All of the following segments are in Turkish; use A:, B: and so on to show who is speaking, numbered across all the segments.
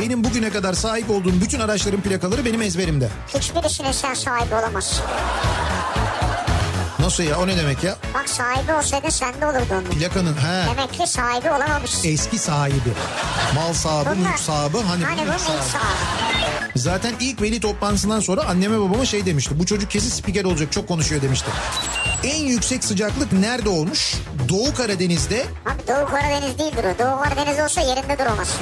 A: Benim bugüne kadar sahip olduğum bütün araçların plakaları benim ezberimde.
B: Hiçbirisine sen sahibi olamazsın.
A: Nasıl ya o ne demek ya?
B: Bak sahibi olsaydın sen de olurdu onun.
A: Plakanın he
B: Demek ki sahibi olamamışsın.
A: eski sahibi. Mal sahibi,
B: Bunlar-
A: mülk sahibi, E, hani,
B: hani
A: mülk
B: bunun ilk
A: sahibi.
B: sahibi.
A: Zaten ilk veli toplantısından sonra anneme babama şey demişti. Bu çocuk kesin spiker olacak çok konuşuyor demişti. En yüksek sıcaklık nerede olmuş? Doğu Karadeniz'de
B: Abi Doğu Karadeniz değildir o. Doğu Karadeniz olsa yerinde duramazsın.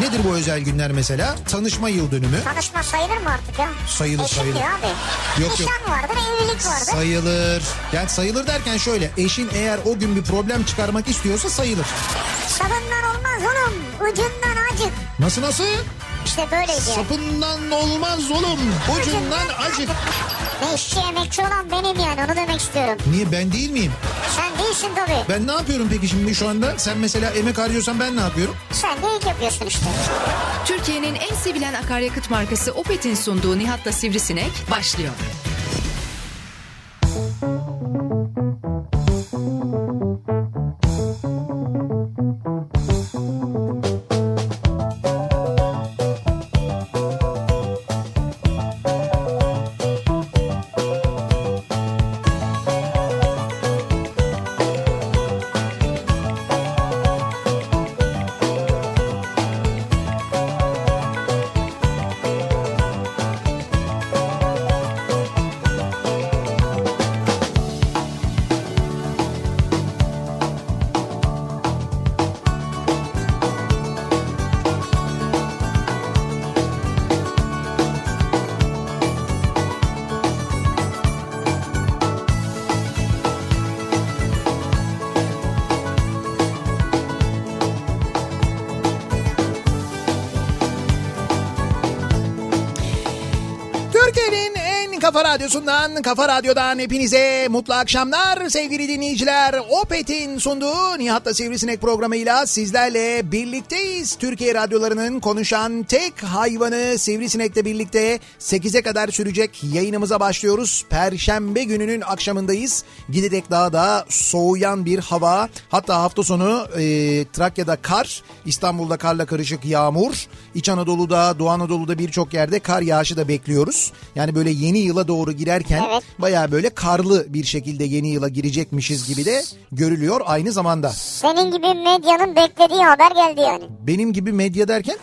A: nedir bu özel günler mesela? Tanışma yıl dönümü.
B: Tanışma sayılır mı artık ya?
A: Sayılır,
B: Eşittir
A: sayılır.
B: abi.
A: Yok,
B: Nişan
A: yok.
B: vardır, evlilik vardır.
A: Sayılır. Yani sayılır derken şöyle eşin eğer o gün bir problem çıkarmak istiyorsa sayılır.
B: Sabından olmaz oğlum. Ucundan acık.
A: Nasıl nasıl?
B: İşte böyleydi. yani.
A: Sapından olmaz oğlum. Ucundan acık.
B: Ne işçi emekçi olan benim yani onu demek istiyorum.
A: Niye ben değil miyim?
B: Sen değilsin tabii.
A: Ben ne yapıyorum peki şimdi şu anda? Sen mesela emek harcıyorsan ben ne yapıyorum?
B: Sen de ilk yapıyorsun işte.
C: Türkiye'nin en sevilen akaryakıt markası Opet'in sunduğu Nihat'la Sivrisinek başlıyor.
A: Türkiye'nin en kafa radyosundan, kafa radyodan hepinize mutlu akşamlar sevgili dinleyiciler. Opet'in sunduğu Nihat'la Sivrisinek programıyla sizlerle birlikteyiz. Türkiye radyolarının konuşan tek hayvanı Sivrisinek'le birlikte 8'e kadar sürecek yayınımıza başlıyoruz. Perşembe gününün akşamındayız. Giderek daha da soğuyan bir hava. Hatta hafta sonu e, Trakya'da kar, İstanbul'da karla karışık yağmur, İç Anadolu'da, Doğu Anadolu'da birçok yerde kar yağışı da bekliyoruz. Yani böyle yeni yıla doğru girerken
B: Evet.
A: bayağı böyle karlı bir şekilde yeni yıla girecekmişiz gibi de görülüyor aynı zamanda.
B: Senin gibi medyanın beklediği haber geldi yani.
A: Benim gibi medya derken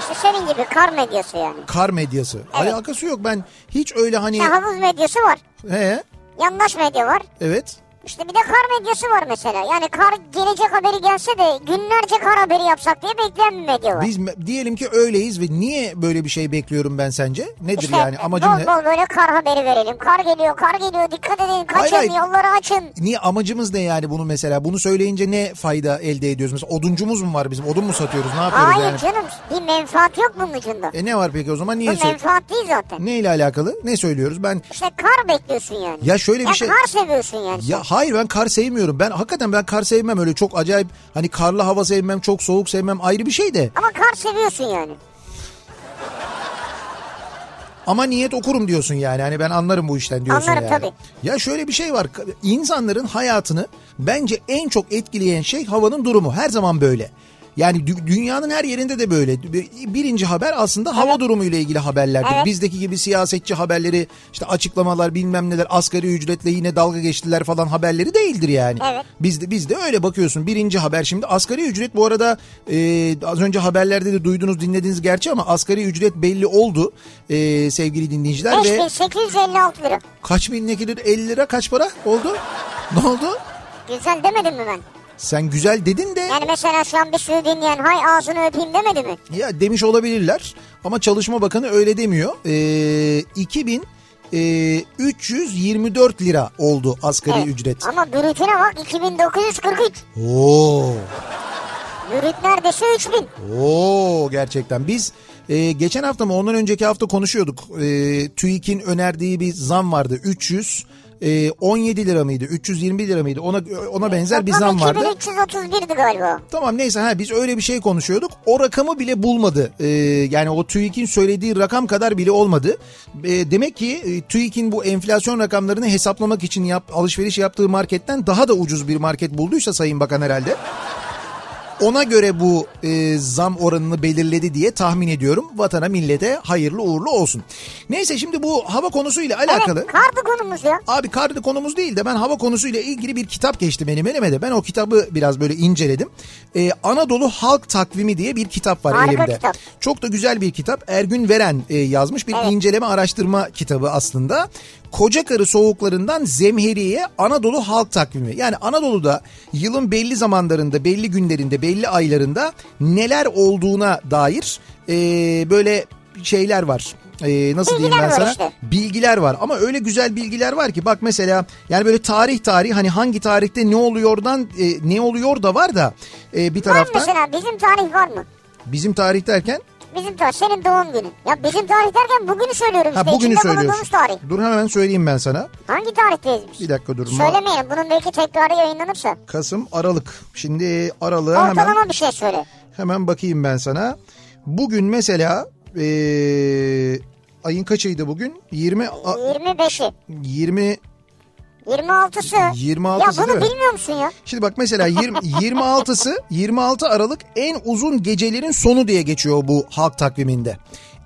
B: İşte senin gibi kar medyası yani.
A: kar medyası. Alakası yok ben hiç öyle hani
B: Ya havuz medyası var.
A: he
B: Yandaş medya var.
A: evet
B: İşte bir de kar medyası var mesela. Yani kar gelecek haberi gelse de günlerce kar haberi yapsak diye bekleyen bir medya var.
A: biz me- diyelim ki öyleyiz ve niye böyle bir şey bekliyorum ben sence? Nedir
B: İşte
A: yani amacım
B: bol
A: ne?
B: bol böyle kar haberi verelim. Kar geliyor, kar geliyor. Dikkat edin, kaçın,
A: Hayır, hayır.
B: yolları açın.
A: Niye amacımız ne yani bunu mesela? Bunu söyleyince ne fayda elde ediyoruz? Mesela oduncumuz mu var bizim? Odun mu satıyoruz? Ne yapıyoruz
B: Hayır
A: yani?
B: canım, bir menfaat yok bunun ucunda.
A: E ne var peki o zaman?
B: Bu
A: Niye söylüyoruz?
B: menfaat değil zaten.
A: Ne ile alakalı? Ne söylüyoruz? Ben
B: İşte kar bekliyorsun yani.
A: Ya şöyle bir şey-
B: kar seviyorsun yani.
A: ya hayır ben kar sevmiyorum. Ben hakikaten ben kar sevmem öyle çok acayip hani karlı hava sevmem, çok soğuk sevmem ayrı bir şey de.
B: Ama kar seviyorsun yani.
A: Ama niyet okurum diyorsun yani. Hani ben anlarım bu işten diyorsun
B: Anlarım
A: yani.
B: tabii.
A: Ya şöyle bir şey var. İnsanların hayatını bence en çok etkileyen şey havanın durumu. Her zaman böyle. Yani dü- dünyanın her yerinde de böyle. Bir- Birinci haber aslında hava durumu ile ilgili haberlerdir.
B: Evet.
A: Bizdeki gibi siyasetçi haberleri, işte açıklamalar, bilmem neler, asgari ücretle yine dalga geçtiler falan haberleri değildir yani.
B: Evet.
A: Bizde bizde öyle bakıyorsun. Birinci haber şimdi asgari ücret bu arada e, az önce haberlerde de duydunuz dinlediniz gerçi ama asgari ücret belli oldu e, sevgili dinleyiciler ve
B: 5856 lira.
A: kaç bin nekidir 50 lira kaç para oldu? Ne oldu?
B: Güzel demedim mi ben?
A: Sen güzel dedin de
B: Yani mesela şu an bir sürü dinleyen hay ağzını öpeyim demedi mi?
A: ya demiş olabilirler ama Çalışma Bakanı öyle demiyor. E, 2000 e, 324 lira oldu asgari
B: Evet.
A: ücret.
B: Ama bürütüne bak 2943.
A: Oo.
B: Bürüt neredeyse 3000.
A: Oo gerçekten biz e, geçen hafta mı ondan önceki hafta konuşuyorduk. E, TÜİK'in önerdiği bir zam vardı 300 e, 17 lira mıydı 320 lira mıydı ona ona benzer bir
B: Toplam
A: zam vardı.
B: 2331'di galiba.
A: Tamam neyse ha biz öyle bir şey konuşuyorduk. O rakamı bile bulmadı. E, yani o TÜİK'in söylediği rakam kadar bile olmadı. E, demek ki e, TÜİK'in bu enflasyon rakamlarını hesaplamak için yap, alışveriş yaptığı marketten daha da ucuz bir market bulduysa Sayın Bakan herhalde. Ona göre bu e, zam oranını belirledi diye tahmin ediyorum. Vatana millete hayırlı uğurlu olsun. Neyse şimdi bu hava konusuyla alakalı.
B: Evet kardı konumuz ya.
A: Abi kardı konumuz değil de ben hava konusuyla ilgili bir kitap geçti benim elime de. Ben o kitabı biraz böyle inceledim. Ee, Anadolu Halk Takvimi diye bir kitap var
B: Harika
A: elimde.
B: kitap.
A: Çok da güzel bir kitap. Ergün Veren e, yazmış bir
B: Evet.
A: inceleme araştırma kitabı aslında. Kocakarı soğuklarından Zemheri'ye Anadolu Halk Takvimi. Yani Anadolu'da yılın belli zamanlarında, belli günlerinde, belli aylarında neler olduğuna dair e, böyle şeyler var. E, nasıl diyeyim
B: Bilgiler
A: ben
B: var
A: sana?
B: işte.
A: bilgiler var ama öyle güzel bilgiler var ki bak mesela yani böyle tarih tarih hani hangi tarihte ne oluyordan e, ne oluyor da var da e, bir
B: Var şey.
A: taraftan
B: mesela bizim tarih var mı?
A: bizim tarih derken
B: Bizim tarih senin doğum günün. Ya bizim tarih derken bugünü söylüyorum
A: ha
B: işte.
A: bugünü
B: İçinde
A: söylüyorsun.
B: bulunduğumuz tarih.
A: Dur hemen söyleyeyim ben sana.
B: Hangi tarihteyiz biz?
A: Bir dakika dur. Ma-
B: Söylemeyelim bunun belki tekrarı yayınlanırsa.
A: Kasım Aralık. Şimdi Aralık'a
B: Ortalama
A: hemen
B: bir şey söyle.
A: hemen bakayım ben sana. Bugün mesela e, ayın kaçıydı bugün? 20 a-
B: 25'i.
A: 20
B: 26'sı.
A: 26'sı
B: Ya bunu
A: değil mi?
B: bilmiyor musun ya?
A: Şimdi bak mesela 20, 26'sı 26 Aralık en uzun gecelerin sonu diye geçiyor bu halk takviminde.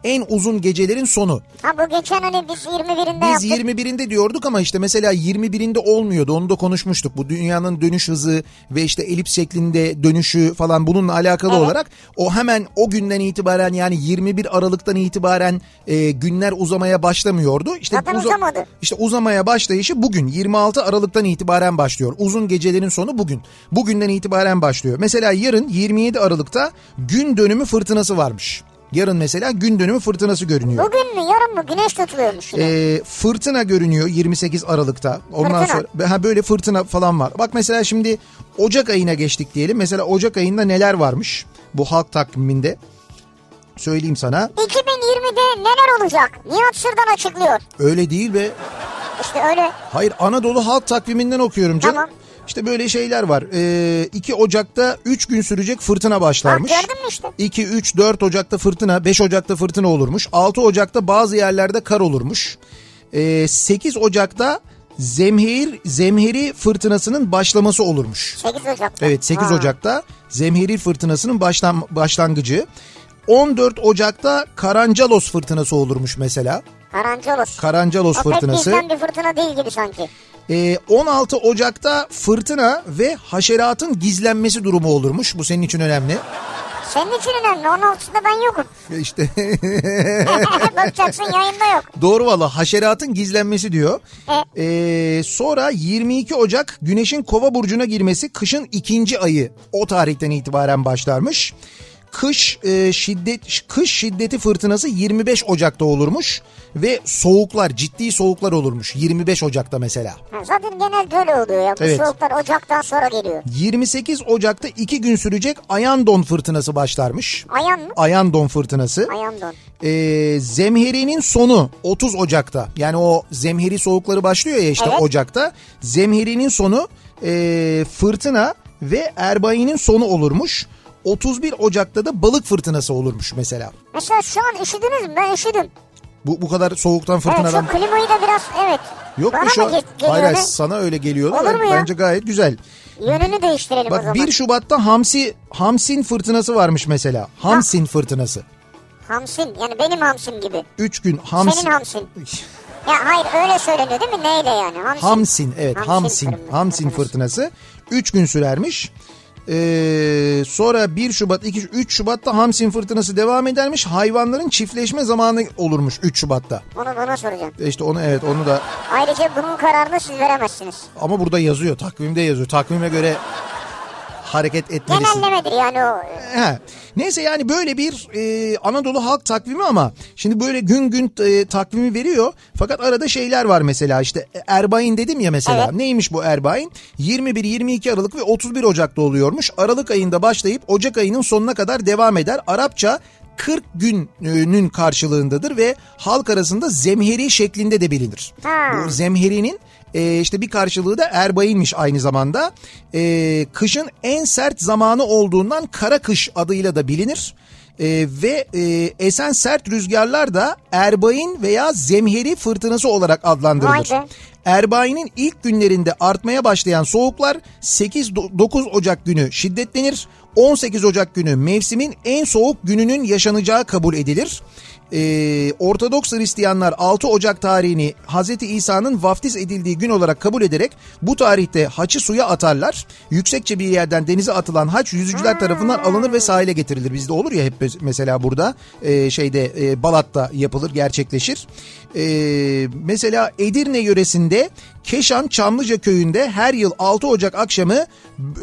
A: En uzun gecelerin sonu.
B: Ha bu geçen hani biz 21'inde
A: Biz
B: yaptık.
A: 21'inde diyorduk ama işte mesela 21'inde olmuyordu. Onu da konuşmuştuk. Bu dünyanın dönüş hızı ve işte elips şeklinde dönüşü falan bununla alakalı olarak o hemen o günden itibaren yani 21 Aralık'tan itibaren e, günler uzamaya başlamıyordu. İşte
B: Zaten uzamadı.
A: İşte uzamaya başlayışı bugün 26 Aralık'tan itibaren başlıyor. Uzun gecelerin sonu bugün. Bugünden itibaren başlıyor. Mesela yarın 27 Aralık'ta gün dönümü fırtınası varmış. Yarın mesela gün dönümü fırtınası görünüyor.
B: Bugün mü yarın mı güneş tutuluyormuş yine.
A: Ee, fırtına görünüyor 28 Aralık'ta. Ondan
B: Fırtına.
A: sonra ha böyle fırtına falan var. Bak mesela şimdi Ocak ayına geçtik diyelim. Mesela Ocak ayında neler varmış bu halk takviminde? Söyleyeyim sana.
B: 2020'de neler olacak? Nihat Sırdan açıklıyor.
A: Öyle değil ve
B: İşte öyle.
A: hayır Anadolu halk takviminden okuyorum canım.
B: Tamam.
A: İşte böyle şeyler var. Ee, 2 Ocak'ta 3 gün sürecek fırtına
B: Bak
A: başlarmış.
B: Ah, gördün mü işte?
A: 2, 3, 4 Ocak'ta fırtına, 5 Ocak'ta fırtına olurmuş. 6 Ocak'ta bazı yerlerde kar olurmuş. Ee, 8 Ocak'ta zemhir, zemheri fırtınasının başlaması olurmuş.
B: 8 Ocak'ta.
A: Evet 8
B: Ha.
A: Ocak'ta zemheri fırtınasının başlan, başlangıcı. 14 Ocak'ta Karancalos fırtınası olurmuş mesela.
B: Karancalos.
A: Karancalos
B: O
A: fırtınası.
B: pek bizden bir fırtına değil gibi sanki.
A: Ee, 16 Ocak'ta fırtına ve haşeratın gizlenmesi durumu olurmuş. Bu senin için önemli.
B: Senin için önemli. 16'sında ben yokum.
A: İşte
B: Bakacaksın yayında yok.
A: Doğru valla haşeratın gizlenmesi diyor. Ee, sonra 22 Ocak güneşin kova burcuna girmesi kışın ikinci ayı o tarihten itibaren başlarmış. Kış e, şiddet kış şiddeti fırtınası 25 Ocak'ta olurmuş ve soğuklar ciddi soğuklar olurmuş 25 Ocak'ta mesela.
B: Ha, Zaten genelde öyle oluyor ya. Bu
A: Evet.
B: soğuklar Ocak'tan sonra geliyor.
A: 28 Ocak'ta 2 gün sürecek Ayandon fırtınası başlarmış.
B: Ayan mı?
A: Ayandon fırtınası.
B: Ayandon.
A: Ee, zemherinin sonu 30 Ocak'ta. Yani o zemheri soğukları başlıyor ya işte
B: Evet.
A: Ocak'ta. Zemherinin sonu ee, fırtına ve erbayinin sonu olurmuş. 31 Ocak'ta da balık fırtınası olurmuş mesela.
B: Mesela şu an üşüdünüz mü? Ben üşüdüm.
A: Bu bu kadar soğuktan
B: Evet
A: fırtınadan
B: şu klimayı da biraz evet.
A: yok
B: Bana
A: mu şu
B: mı
A: an?
B: ge- geliyor
A: Hayır, hayır,
B: ne?
A: sana öyle geliyordu.
B: Olur mu ya?
A: Bence gayet güzel.
B: Yönünü değiştirelim o
A: Bak
B: zaman.
A: 1 Şubat'ta Hamsi Hamsin fırtınası varmış mesela. Hamsin fırtınası.
B: Hamsin yani benim hamsim gibi.
A: 3 gün Hamsin.
B: Senin hamsin. Ya hayır öyle söyleniyor değil mi? Neyle yani? Hamsin.
A: Hamsin evet Hamsin Hamsin,
B: fırını-
A: fırtınası 3 gün sürermiş. Ee, sonra 1 Şubat 2 3 Şubat'ta Hamsin fırtınası devam edermiş. Hayvanların çiftleşme zamanı olurmuş 3 Şubat'ta.
B: Onu bana soracağım.
A: E İşte onu evet onu da
B: Ayrıca bunun kararını siz veremezsiniz.
A: ama burada yazıyor takvimde yazıyor. Takvime göre hareket etmelisin.
B: Genellemedir yani o.
A: He. Neyse yani böyle bir e, Anadolu halk takvimi ama şimdi böyle gün gün e, takvimi veriyor. Fakat arada şeyler var mesela işte Erbayin dedim ya mesela.
B: Evet.
A: Neymiş bu Erbayin? 21-22 Aralık ve 31 Ocak'ta oluyormuş. Aralık ayında başlayıp Ocak ayının sonuna kadar devam eder. Arapça 40 günün karşılığındadır ve halk arasında zemheri şeklinde de bilinir.
B: Ha.
A: Bu zemherinin e, işte bir karşılığı da erbayinmiş aynı zamanda. E, kışın en sert zamanı olduğundan kara kış adıyla da bilinir. E, ve e, esen sert rüzgarlar da erbayin veya zemheri fırtınası olarak adlandırılır.
B: Vay be.
A: Erbayinin ilk günlerinde artmaya başlayan soğuklar 8-9 Ocak günü şiddetlenir. 18 Ocak günü mevsimin en soğuk gününün yaşanacağı kabul edilir. Ee, Ortodoks Hristiyanlar 6 Ocak tarihini Hz. İsa'nın vaftiz edildiği gün olarak kabul ederek bu tarihte haçı suya atarlar. Yüksekçe bir yerden denize atılan haç yüzücüler tarafından alınır ve sahile getirilir. Bizde olur ya hep mes- mesela burada e, şeyde e, Balat'ta yapılır gerçekleşir. Ee, mesela Edirne yöresinde Keşan Çamlıca köyünde her yıl 6 Ocak akşamı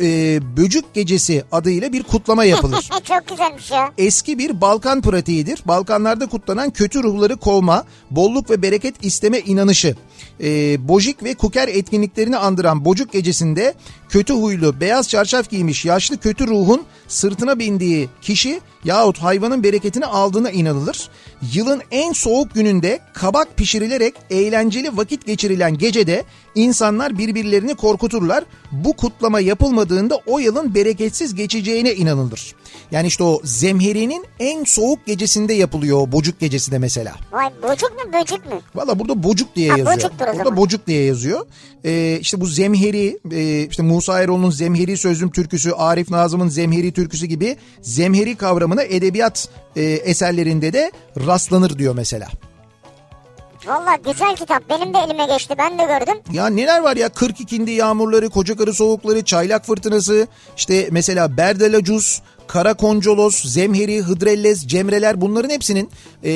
A: e, Böcük Gecesi adıyla bir kutlama yapılır.
B: e, Çok güzelmiş ya.
A: eski bir Balkan pratiğidir. Balkanlarda kutlanan kötü ruhları kovma, bolluk ve bereket isteme inanışı. Ee, bojik ve kuker etkinliklerini andıran Bocuk Gecesi'nde kötü huylu, beyaz çarşaf giymiş yaşlı kötü ruhun sırtına bindiği kişi yahut hayvanın bereketini aldığına inanılır. Yılın en soğuk gününde kabak pişirilerek eğlenceli vakit geçirilen gecede insanlar birbirlerini korkuturlar. Bu kutlama yapılmadığında o yılın bereketsiz geçeceğine inanılır. Yani işte o zemherinin en soğuk gecesinde yapılıyor o bocuk gecesi de mesela.
B: Vay bocuk mu böcük mü?
A: Valla burada bocuk diye
B: Ha,
A: yazıyor.
B: bocuktur o
A: burada
B: zaman.
A: bocuk diye yazıyor. Ee, işte bu zemheri, e, işte Musa Eroğlu'nun zemheri sözüm türküsü, Arif Nazım'ın zemheri türküsü gibi zemheri kavramına edebiyat e, eserlerinde de rastlanır diyor mesela.
B: Valla güzel kitap benim de elime geçti ben de gördüm.
A: Ya neler var ya 42'indi yağmurları, kocakarı soğukları, çaylak fırtınası, işte mesela Berdelacuz, Karakoncolos, Zemheri, Hıdrellez, Cemreler bunların hepsinin e,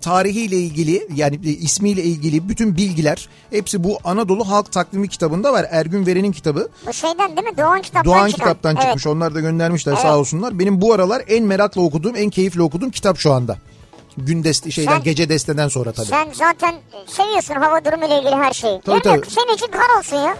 A: tarihiyle ilgili yani e, ismiyle ilgili bütün bilgiler hepsi bu Anadolu Halk Takvimi kitabında var. Ergün Veren'in kitabı.
B: Bu şeyden değil mi? Doğan kitaptan
A: Doğan
B: çıkan.
A: kitaptan
B: Evet.
A: çıkmış. Onlar da göndermişler sağ olsunlar. Benim bu aralar en merakla okuduğum, en keyifle okuduğum kitap şu anda. Gün deste, şeyden
B: Sen-
A: gece desteden sonra tabii.
B: Sen zaten e, seviyorsun hava durumuyla ilgili her şeyi.
A: Tabii,
B: Diyorum ya,
A: tabii.
B: Senin için kar olsun ya.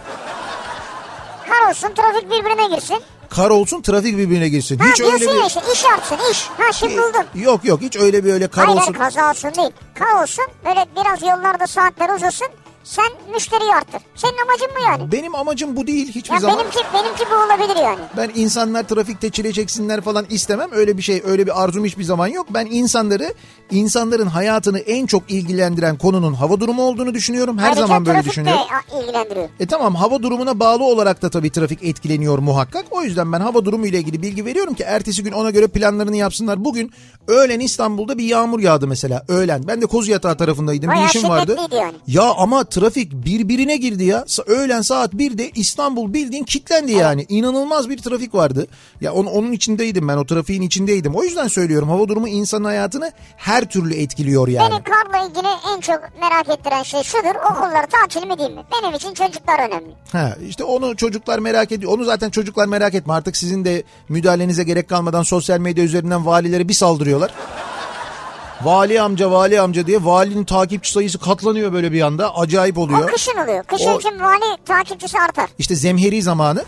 B: Kar olsun trafik birbirine girsin.
A: Kar olsun trafik birbirine girsin.
B: Ha
A: Hiç öyle
B: diyorsun
A: bir...
B: ya işte iş yapsın iş. Ha şimdi buldum.
A: Şey, Yok yok hiç öyle bir öyle kar
B: Hayır
A: olsun.
B: hayır, kaza olsun değil. Kar olsun böyle biraz yollarda saatler uzasın. Sen müşteriyi arttır. Senin amacın mı yani?
A: Benim amacım bu değil hiçbir
B: Ya
A: zaman.
B: benimki, benimki bu olabilir yani.
A: Ben insanlar trafikte çile çeksinler falan istemem. Öyle bir şey, öyle bir arzum hiçbir zaman yok. Ben insanları, insanların hayatını en çok ilgilendiren konunun hava durumu olduğunu düşünüyorum. Her
B: Ayrıca
A: zaman böyle
B: trafik de
A: düşünüyorum.
B: a- ilgilendiriyor.
A: E tamam hava durumuna bağlı olarak da tabii trafik etkileniyor muhakkak. O yüzden ben hava durumu ile ilgili bilgi veriyorum ki ertesi gün ona göre planlarını yapsınlar. Bugün öğlen İstanbul'da bir yağmur yağdı mesela öğlen. Ben de Kozuyatağı tarafındaydım
B: Bayağı
A: bir işim vardı.
B: şiddetliydi yani.
A: Ya ama trafik birbirine girdi ya. Sa- Öğlen saat 1'de İstanbul bildiğin kilitlendi yani. İnanılmaz bir trafik vardı. Ya on- onun içindeydim ben o trafiğin içindeydim. O yüzden söylüyorum hava durumu insanın hayatını her türlü etkiliyor yani.
B: Beni karla ilgili en çok merak ettiren şey şudur. Okullar tatil mi değil mi? Benim için çocuklar önemli.
A: Ha işte onu çocuklar merak ediyor. Onu zaten çocuklar merak etme. Artık sizin de müdahalenize gerek kalmadan sosyal medya üzerinden valilere bir saldırıyorlar. Vali amca vali amca diye valinin takipçi sayısı katlanıyor böyle bir anda. Acayip
B: O
A: oluyor.
B: kışın oluyor. Kışın
A: O-
B: için vali takipçisi artar.
A: İşte zemheri zamanı.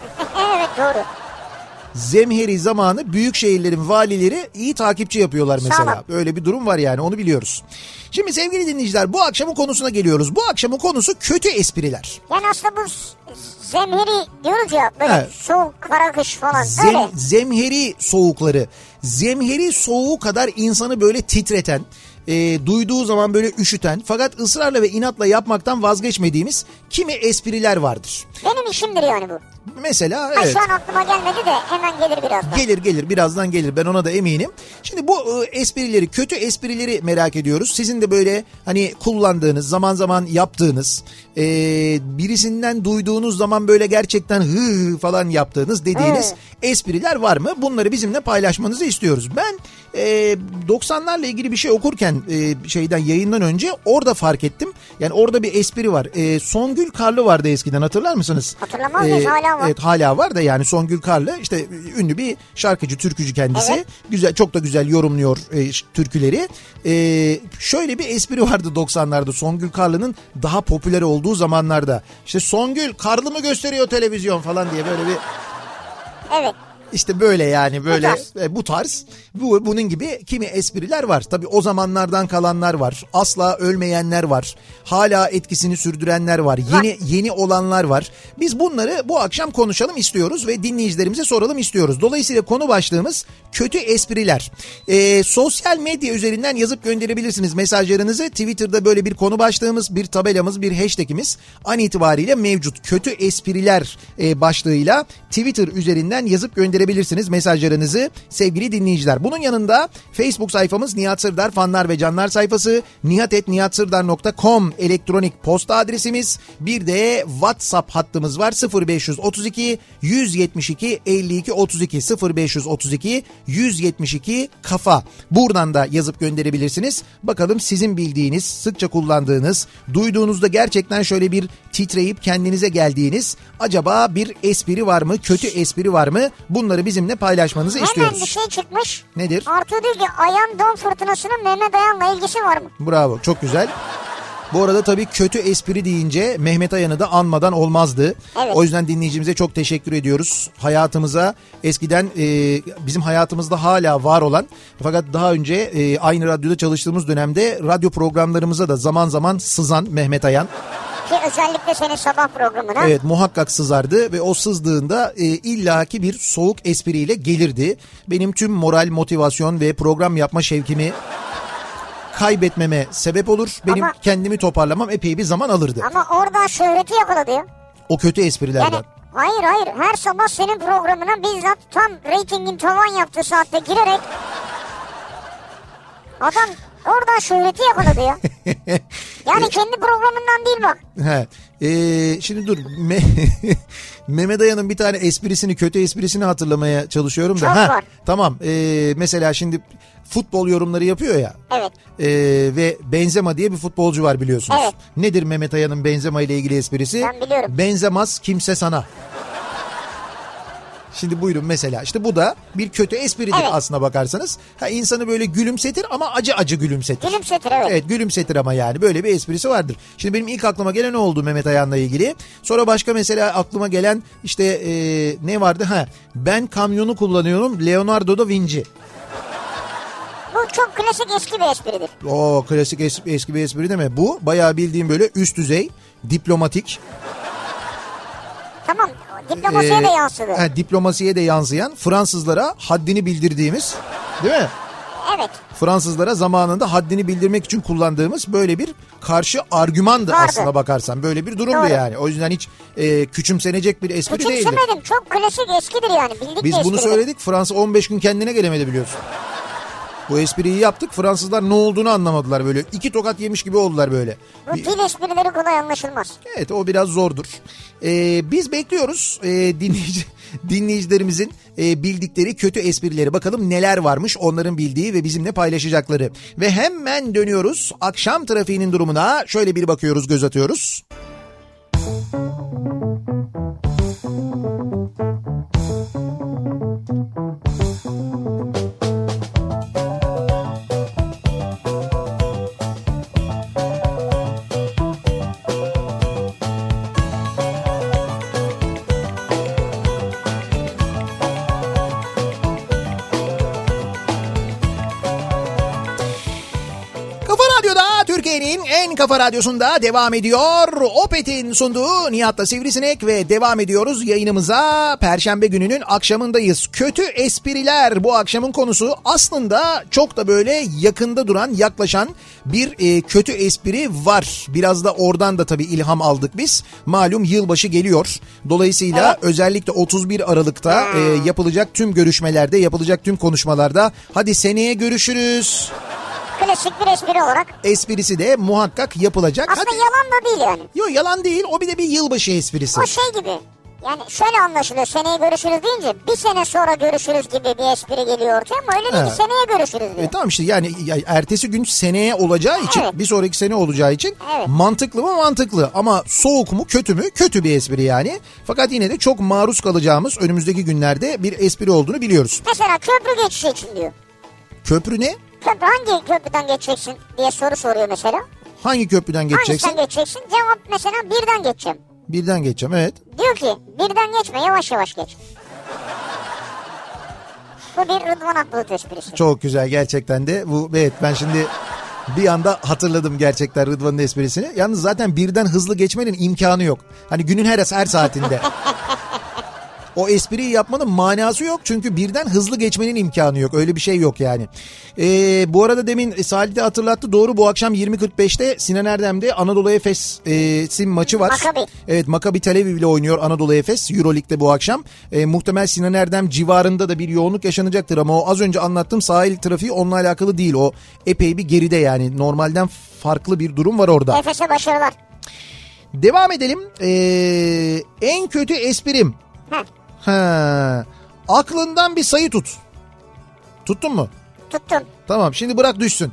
B: evet doğru.
A: Zemheri zamanı büyük şehirlerin valileri iyi takipçi yapıyorlar mesela.
B: Sağlam.
A: Böyle bir durum var yani onu biliyoruz. Şimdi sevgili dinleyiciler bu akşamın konusuna geliyoruz. Bu akşamın konusu kötü espriler.
B: Yani aslında bu z- zemheri diyoruz ya böyle
A: Evet.
B: soğuk kara kış falan
A: Zem-
B: öyle.
A: zemheri soğukları. Zemheri soğuğu kadar insanı böyle titreten, e, duyduğu zaman böyle üşüten fakat ısrarla ve inatla yapmaktan vazgeçmediğimiz kimi espriler vardır.
B: Benim işimdir yani bu.
A: Mesela
B: Ha,
A: evet.
B: şu an aklıma gelmedi de hemen gelir birazdan.
A: Gelir gelir birazdan gelir ben ona da eminim. Şimdi bu e, esprileri kötü esprileri merak ediyoruz. Sizin de böyle hani kullandığınız zaman zaman yaptığınız e, birisinden duyduğunuz zaman böyle gerçekten hı hı falan yaptığınız dediğiniz espriler var mı? Bunları bizimle paylaşmanızı istiyoruz. Ben e, 90'larla ilgili bir şey okurken e, şeyden yayından önce orada fark ettim. Yani orada bir espri var. E, Songül Karlı vardı eskiden hatırlar mısınız? e,
B: Hatırlamaz mıyız? Hala var.
A: evet, hala var da yani Songül Karlı işte ünlü bir şarkıcı, türkücü kendisi.
B: Evet.
A: Güzel çok da güzel yorumluyor e, ş- türküleri. E, şöyle bir espri vardı 90'larda Songül Karlı'nın daha popüler olduğu zamanlarda. İşte Songül Karlı mı gösteriyor televizyon falan diye böyle bir
B: Evet.
A: işte böyle yani böyle
B: tarz.
A: e, bu tarz bu bunun gibi kimi espriler var. Tabii o zamanlardan kalanlar var. Asla ölmeyenler var. Hala etkisini sürdürenler var. Yeni yeni olanlar var. Biz bunları bu akşam konuşalım istiyoruz ve dinleyicilerimize soralım istiyoruz. Dolayısıyla konu başlığımız kötü espriler. E, sosyal medya üzerinden yazıp gönderebilirsiniz mesajlarınızı. Twitter'da böyle bir konu başlığımız, bir tabelamız, bir hashtagimiz an itibariyle mevcut. Kötü espriler e, başlığıyla Twitter üzerinden yazıp gönderebilirsiniz gönderebilirsiniz mesajlarınızı sevgili dinleyiciler. Bunun yanında Facebook sayfamız Nihat Sırdar fanlar ve canlar sayfası nihatetnihatsırdar.com elektronik posta adresimiz bir de WhatsApp hattımız var 0532 172 52 32 0532 172 kafa. Buradan da yazıp gönderebilirsiniz. Bakalım sizin bildiğiniz, sıkça kullandığınız, duyduğunuzda gerçekten şöyle bir titreyip kendinize geldiğiniz acaba bir espri var mı, kötü espri var mı? Bunları bizimle paylaşmanızı
B: Hemen bir
A: istiyoruz.
B: şey çıkmış.
A: Nedir?
B: Artu diyor ki Ayan Don Fırtınası'nın Mehmet Ayan'la ilgisi var mı?
A: Bravo çok güzel. Bu arada tabii kötü espri deyince Mehmet Ayan'ı da anmadan olmazdı.
B: Evet.
A: O yüzden dinleyicimize çok teşekkür ediyoruz. Hayatımıza eskiden e, bizim hayatımızda hala var olan fakat daha önce e, aynı radyoda çalıştığımız dönemde radyo programlarımıza da zaman zaman sızan Mehmet Ayan.
B: Ki özellikle senin sabah programına.
A: Evet muhakkak sızardı ve o sızdığında e, illaki bir soğuk espriyle gelirdi. Benim tüm moral, motivasyon ve program yapma şevkimi kaybetmeme sebep olur. Benim
B: Ama- Ah.
A: kendimi toparlamam epey bir zaman alırdı.
B: Ama oradan şöhreti yakaladı ya.
A: O kötü esprilerden.
B: Yani hayır hayır her sabah senin programına bizzat tam reytingin tavan yaptığı saatte girerek adam oradan şöhreti yakaladı ya. Yani kendi programından değil bak.
A: He. Ee, şimdi dur. Me- Mehmet Aya'nın bir tane esprisini, kötü esprisini hatırlamaya çalışıyorum da.
B: Çok var.
A: Tamam. Ee, mesela şimdi futbol yorumları yapıyor ya.
B: Evet.
A: Ee, ve Benzema diye bir futbolcu var biliyorsunuz.
B: Evet.
A: Nedir Mehmet Aya'nın Benzema ile ilgili esprisi?
B: Ben biliyorum.
A: Benzemez kimse sana. Şimdi buyurun mesela işte bu da bir kötü espridir
B: Evet.
A: aslına bakarsanız. Ha insanı böyle gülümsetir ama acı acı gülümsetir.
B: Gülümsetir, evet.
A: Evet gülümsetir ama yani böyle bir esprisi vardır. Şimdi benim ilk aklıma gelen o oldu Mehmet Ayan'la ilgili. Sonra başka mesela aklıma gelen işte e, ne vardı? Ha ben kamyonu kullanıyorum Leonardo da Vinci.
B: Bu çok klasik eski bir espridir.
A: O klasik es- eski bir espri değil mi? Bu bayağı bildiğim böyle üst düzey diplomatik.
B: Tamam diplomasiye
A: e,
B: de yansıdı.
A: he, diplomasiye de yansıyan Fransızlara haddini bildirdiğimiz değil mi?
B: Evet.
A: Fransızlara zamanında haddini bildirmek için kullandığımız böyle bir karşı argümandı
B: Vardı.
A: aslına bakarsan. Böyle bir durumdu
B: Doğru.
A: yani. O yüzden hiç e, küçümsenecek bir espri değildi.
B: Küçümsemedim. Çok klasik eskidir yani. Bildik
A: Biz
B: bir
A: bunu
B: espridir.
A: söyledik Fransa 15 gün kendine gelemedi biliyorsun. Bu espriyi yaptık Fransızlar ne olduğunu anlamadılar böyle. İki tokat yemiş gibi oldular böyle.
B: Bu dil esprileri kolay anlaşılmaz.
A: Evet o biraz zordur. Ee, biz bekliyoruz ee, dinleyici, dinleyicilerimizin ee, bildikleri kötü esprileri. Bakalım neler varmış onların bildiği ve bizimle paylaşacakları. Ve hemen dönüyoruz akşam trafiğinin durumuna. Şöyle bir bakıyoruz göz atıyoruz. Kafa Radyo'da Türkiye'nin en kafa radyosunda devam ediyor. Opet'in sunduğu Nihat'la Sivrisinek ve devam ediyoruz yayınımıza. Perşembe gününün akşamındayız. Kötü espriler bu akşamın konusu. Aslında çok da böyle yakında duran, yaklaşan bir e, kötü espri var. Biraz da oradan da tabii ilham aldık biz. Malum yılbaşı geliyor. Dolayısıyla özellikle 31 Aralık'ta e, yapılacak tüm görüşmelerde, yapılacak tüm konuşmalarda hadi seneye görüşürüz
B: Klasik bir espri olarak.
A: esprisi de muhakkak yapılacak.
B: Aslında
A: Hadi.
B: yalan da değil yani.
A: Yo yalan değil o bir de bir yılbaşı esprisi.
B: O şey gibi. Yani şöyle anlaşılıyor. Seneye görüşürüz deyince bir sene sonra görüşürüz gibi bir espri geliyor ortaya ama öyle değil
A: Evet.
B: ki seneye görüşürüz diyor.
A: E tamam işte yani ya- ertesi gün seneye olacağı için
B: Evet.
A: bir sonraki sene olacağı için
B: Evet.
A: mantıklı mı mantıklı ama soğuk mu kötü mü kötü bir espri yani. Fakat yine de çok maruz kalacağımız önümüzdeki günlerde bir espri olduğunu biliyoruz.
B: Mesela köprü geçişi için diyor.
A: Köprü ne?
B: Köprü hangi köprüden geçeceksin diye soru soruyor mesela.
A: Hangi köprüden geçeceksin?
B: Hangisinden geçeceksin? Cevap mesela birden geçeceğim.
A: Birden geçeceğim evet.
B: Diyor ki birden geçme yavaş yavaş geç. Bu bir Rıdvan Akbulut esprisi.
A: Çok güzel gerçekten de. Bu evet ben şimdi bir anda hatırladım gerçekten Rıdvan'ın esprisini. Yalnız zaten birden hızlı geçmenin imkanı yok. Hani günün her her saatinde. o espriyi yapmanın manası yok. Çünkü birden hızlı geçmenin imkanı yok. Öyle bir şey yok yani. Ee, bu arada demin Salih de hatırlattı. Doğru bu akşam 20.45'te Sinan Erdem'de Anadolu Efes'in maçı var.
B: Maccabi.
A: Evet Maccabi Tel Aviv ile oynuyor Anadolu Efes Euroleague'de bu akşam. E, muhtemel Sinan Erdem civarında da bir yoğunluk yaşanacaktır ama o az önce anlattığım sahil trafiği onunla alakalı değil. O epey bir geride yani normalden farklı bir durum var orada.
B: Efes'e başarılar.
A: Devam edelim. Ee, en kötü esprim.
B: Heh,
A: Ha. Aklından bir sayı tut. Tuttun mu?
B: tuttum.
A: Tamam şimdi bırak düşsün.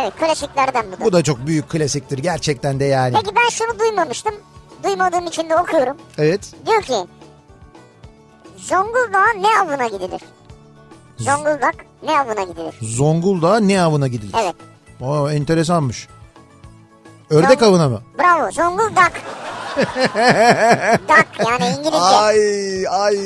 B: Evet klasiklerden bu da.
A: Bu da çok büyük klasiktir gerçekten de yani.
B: Peki ben şunu duymamıştım. Duymadığım için de okuyorum.
A: Evet.
B: Diyor ki Zonguldak'a ne avına gidilir? Zonguldak ne avına gidilir?
A: Zonguldak'a ne avına gidilir?
B: Evet.
A: Aa, enteresanmış. Ördek
B: Tamam.
A: avına mı?
B: Bravo Zonguldak. Dak yani İngilizce.
A: Ay ay.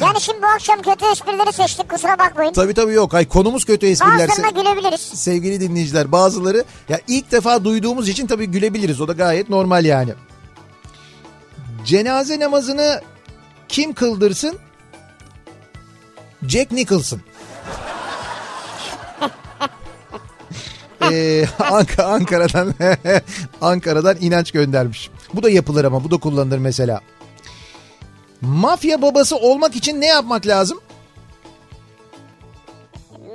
B: Yani şimdi bu akşam kötü esprileri seçtik kusura bakmayın.
A: Tabii tabii yok. Ay konumuz kötü espriler.
B: Bazılarına
A: Se-
B: gülebiliriz.
A: sevgili dinleyiciler bazıları ya ilk defa duyduğumuz için tabii gülebiliriz. O da gayet normal yani. Cenaze namazını kim kıldırsın? Jack Nicholson. Ee, Ank- Ankara'dan Ankara'dan inanç göndermiş. Bu da yapılır ama bu da kullanılır mesela. Mafya babası olmak için ne yapmak lazım?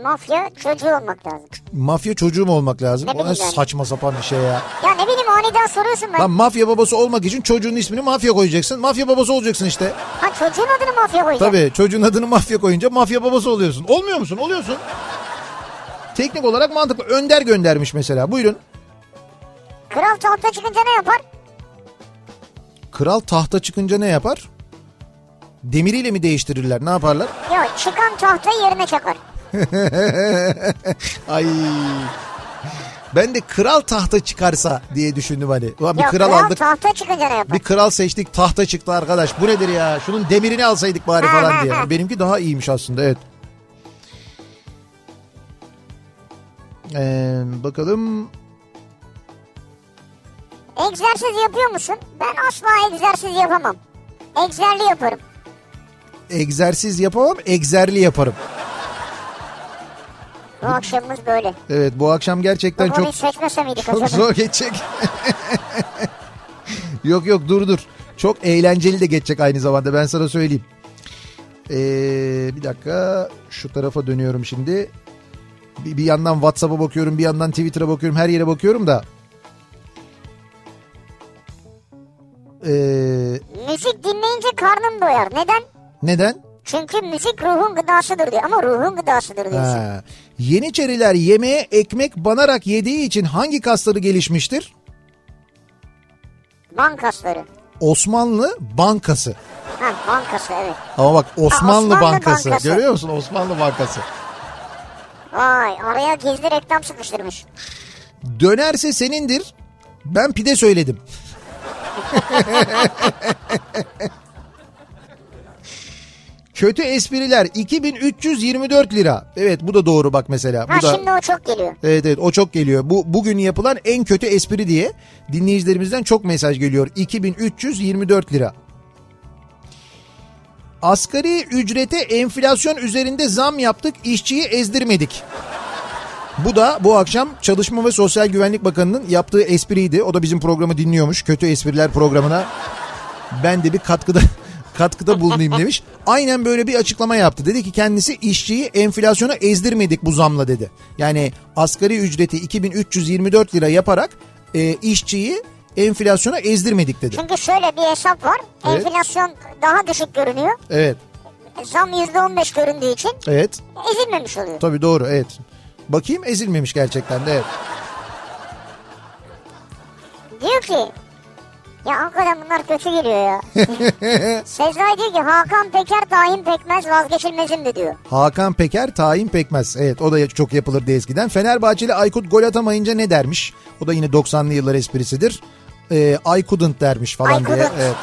B: Mafya çocuğu olmak lazım.
A: Mafya çocuğum olmak lazım.
B: Ne
A: O ne
B: bileyim yani.
A: saçma sapan bir şey ya.
B: Ya ne bileyim aniden soruyorsun ben.
A: Lan mafya babası olmak için çocuğun ismini mafya koyacaksın. Mafya babası olacaksın işte.
B: Ha çocuğun adını mafya koyacağım.
A: Tabii çocuğun adını mafya koyunca mafya babası oluyorsun. Olmuyor musun? Oluyorsun. Teknik olarak mantıklı. Önder göndermiş mesela. Buyurun.
B: Kral tahta çıkınca ne yapar?
A: Kral tahta çıkınca ne yapar? Demiriyle mi değiştirirler? Ne yaparlar?
B: Yok çıkan tahtayı yerine çakar.
A: Ay. Ben de kral tahta çıkarsa diye düşündüm hani. Ulan bir
B: Yok
A: kral, aldık.
B: tahta çıkınca ne yapar?
A: Bir kral seçtik tahta çıktı arkadaş. Bu nedir ya? Şunun demirini alsaydık bari falan diye. Benimki daha iyiymiş aslında evet. Ee, bakalım.
B: Egzersiz yapıyor musun? Ben asla egzersiz yapamam. Egzerli yaparım.
A: Egzersiz yapamam, egzerli yaparım.
B: Bu akşamımız böyle.
A: Evet bu akşam gerçekten
B: Bu konuyu
A: çok
B: seçmese miydik
A: çok
B: acaba?
A: zor geçecek. yok yok dur dur. Çok eğlenceli de geçecek aynı zamanda ben sana söyleyeyim. Ee, bir dakika şu tarafa dönüyorum şimdi. Bir, bir yandan WhatsApp'a bakıyorum, bir yandan Twitter'a bakıyorum, her yere bakıyorum da. Ee,
B: Müzik dinleyince karnım doyar. Neden?
A: neden?
B: Çünkü müzik ruhun gıdasıdır diyor. Ama ruhun gıdasıdır diyorsun.
A: Ha. Yeniçeriler yemeğe ekmek banarak yediği için hangi kasları gelişmiştir?
B: Bankasları.
A: Osmanlı bankası.
B: Ha bankası evet.
A: Ama bak Osmanlı,
B: Osmanlı
A: Bankası.
B: Bankası.
A: Görüyor musun Osmanlı Bankası?
B: Vay araya gizli reklam sıkıştırmış.
A: Dönerse senindir. Ben pide söyledim. Kötü espriler 2324 lira. Evet bu da doğru bak mesela.
B: Ha
A: Bu da...
B: şimdi o çok geliyor.
A: Evet evet o çok geliyor. Bu bugün yapılan en kötü espri diye dinleyicilerimizden çok mesaj geliyor. 2324 lira. Asgari ücrete enflasyon üzerinde zam yaptık, işçiyi ezdirmedik. Bu da bu akşam Çalışma ve Sosyal Güvenlik Bakanı'nın yaptığı espriydi. O da bizim programı dinliyormuş. Kötü espriler programına ben de bir katkıda katkıda bulunayım demiş. Aynen böyle bir açıklama yaptı. Dedi ki kendisi işçiyi enflasyona ezdirmedik bu zamla dedi. Yani asgari ücreti 2324 lira yaparak e, işçiyi enflasyona ezdirmedik dedi.
B: Çünkü şöyle bir hesap var.
A: Evet.
B: Enflasyon daha düşük görünüyor.
A: Evet.
B: Zam %15 göründüğü için
A: Evet.
B: ezilmemiş oluyor.
A: Tabii doğru evet. Bakayım ezilmemiş gerçekten de evet.
B: Diyor ki ya hakikaten bunlar kötü geliyor ya. Sezai diyor ki Hakan Peker daim pekmez vazgeçilmezimdi diyor.
A: Hakan Peker, Tayin Pekmez. Evet o da çok yapılır diye eskiden. Fenerbahçeli Aykut gol atamayınca ne dermiş? O da yine 90'lı yıllar esprisidir. Ee, I couldn't dermiş falan
B: I
A: diye.
B: couldn't.
A: Evet.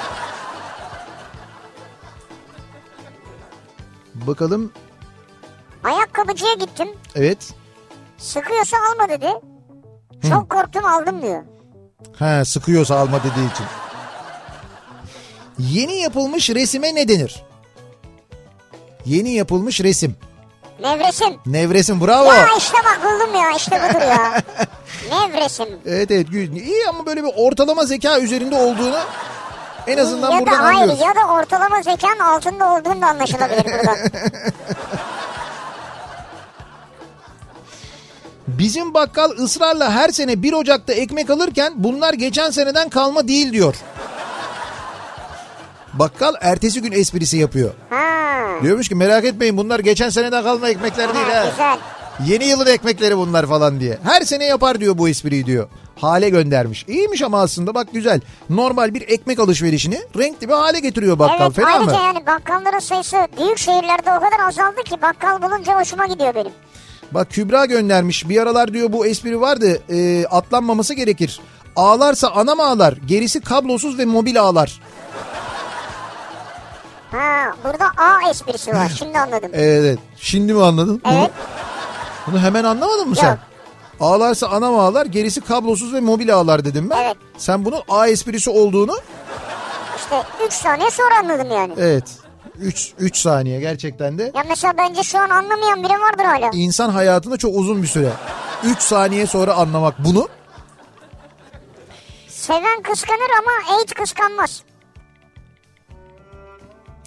A: Bakalım.
B: Ayakkabıcıya gittim.
A: Evet.
B: Sıkıyorsa alma dedi. Çok korktum aldım diyor.
A: Ha sıkıyorsa alma dediği için. Yeni yapılmış resime ne denir? Yeni yapılmış resim.
B: Nevresim.
A: Nevresim bravo.
B: Ya işte bak buldum ya işte budur ya. Nevresim.
A: Evet evet gü- iyi ama böyle bir ortalama zeka üzerinde olduğunu en azından
B: ya
A: buradan
B: da hayır
A: anlıyoruz.
B: ya da ortalama zekanın altında olduğunu da anlaşılabilir buradan.
A: Bizim bakkal ısrarla her sene 1 Ocak'ta ekmek alırken bunlar geçen seneden kalma değil diyor. Bakkal ertesi gün esprisi yapıyor.
B: Ha.
A: Diyormuş ki merak etmeyin bunlar geçen seneden kalma ekmekler değil
B: ha
A: ha.
B: güzel.
A: Yeni yılın ekmekleri bunlar falan diye. Her sene yapar diyor bu espriyi diyor. Hale göndermiş. İyiymiş ama aslında bak güzel. Normal bir ekmek alışverişini renkli bir hale getiriyor bakkal.
B: evet
A: Fena mı?
B: ayrıca yani bakkalların sayısı büyük şehirlerde o kadar azaldı ki bakkal bulunca hoşuma gidiyor benim.
A: Bak Kübra göndermiş. Bir aralar diyor bu espri vardı. e, atlanmaması gerekir. Ağlarsa anam ağlar. Gerisi kablosuz ve mobil ağlar.
B: Ha burada A esprisi var şimdi anladım.
A: E, Evet. Şimdi mi anladın? Bunu-
B: Evet.
A: Bunu, hemen anlamadın mı sen?
B: Yok.
A: Ağlarsa anam ağlar. Gerisi kablosuz ve mobil ağlar dedim ben.
B: Evet.
A: Sen bunun A esprisi olduğunu
B: İşte 3 saniye sonra anladım yani.
A: evet. 3 3 saniye gerçekten de.
B: Ya mesela bence şu an anlamayan biri vardır hala.
A: İnsan hayatında çok uzun bir süre. 3 saniye sonra anlamak bunu.
B: Seven kıskanır ama AIDS kıskanmaz.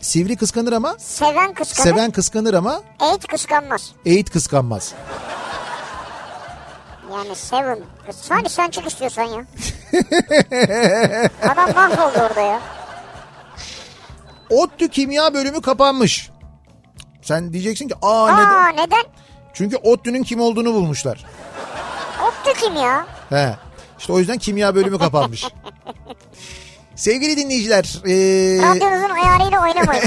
A: Sivri kıskanır ama
B: Seven kıskanır,
A: seven kıskanır ama
B: AIDS kıskanmaz.
A: eğit kıskanmaz.
B: Yani seven. kıs- Hadi sen çık istiyorsan ya. Adam mahvoldu orada ya.
A: ODTÜ kimya bölümü kapanmış. Sen diyeceksin ki aa,
B: Aa
A: neden?
B: neden?
A: Çünkü ODTÜ'nün kim olduğunu bulmuşlar.
B: Optu kim ya?
A: He. İşte o yüzden kimya bölümü kapanmış. Sevgili dinleyiciler, e,
B: Radyonuzun ayarıyla oynamayın.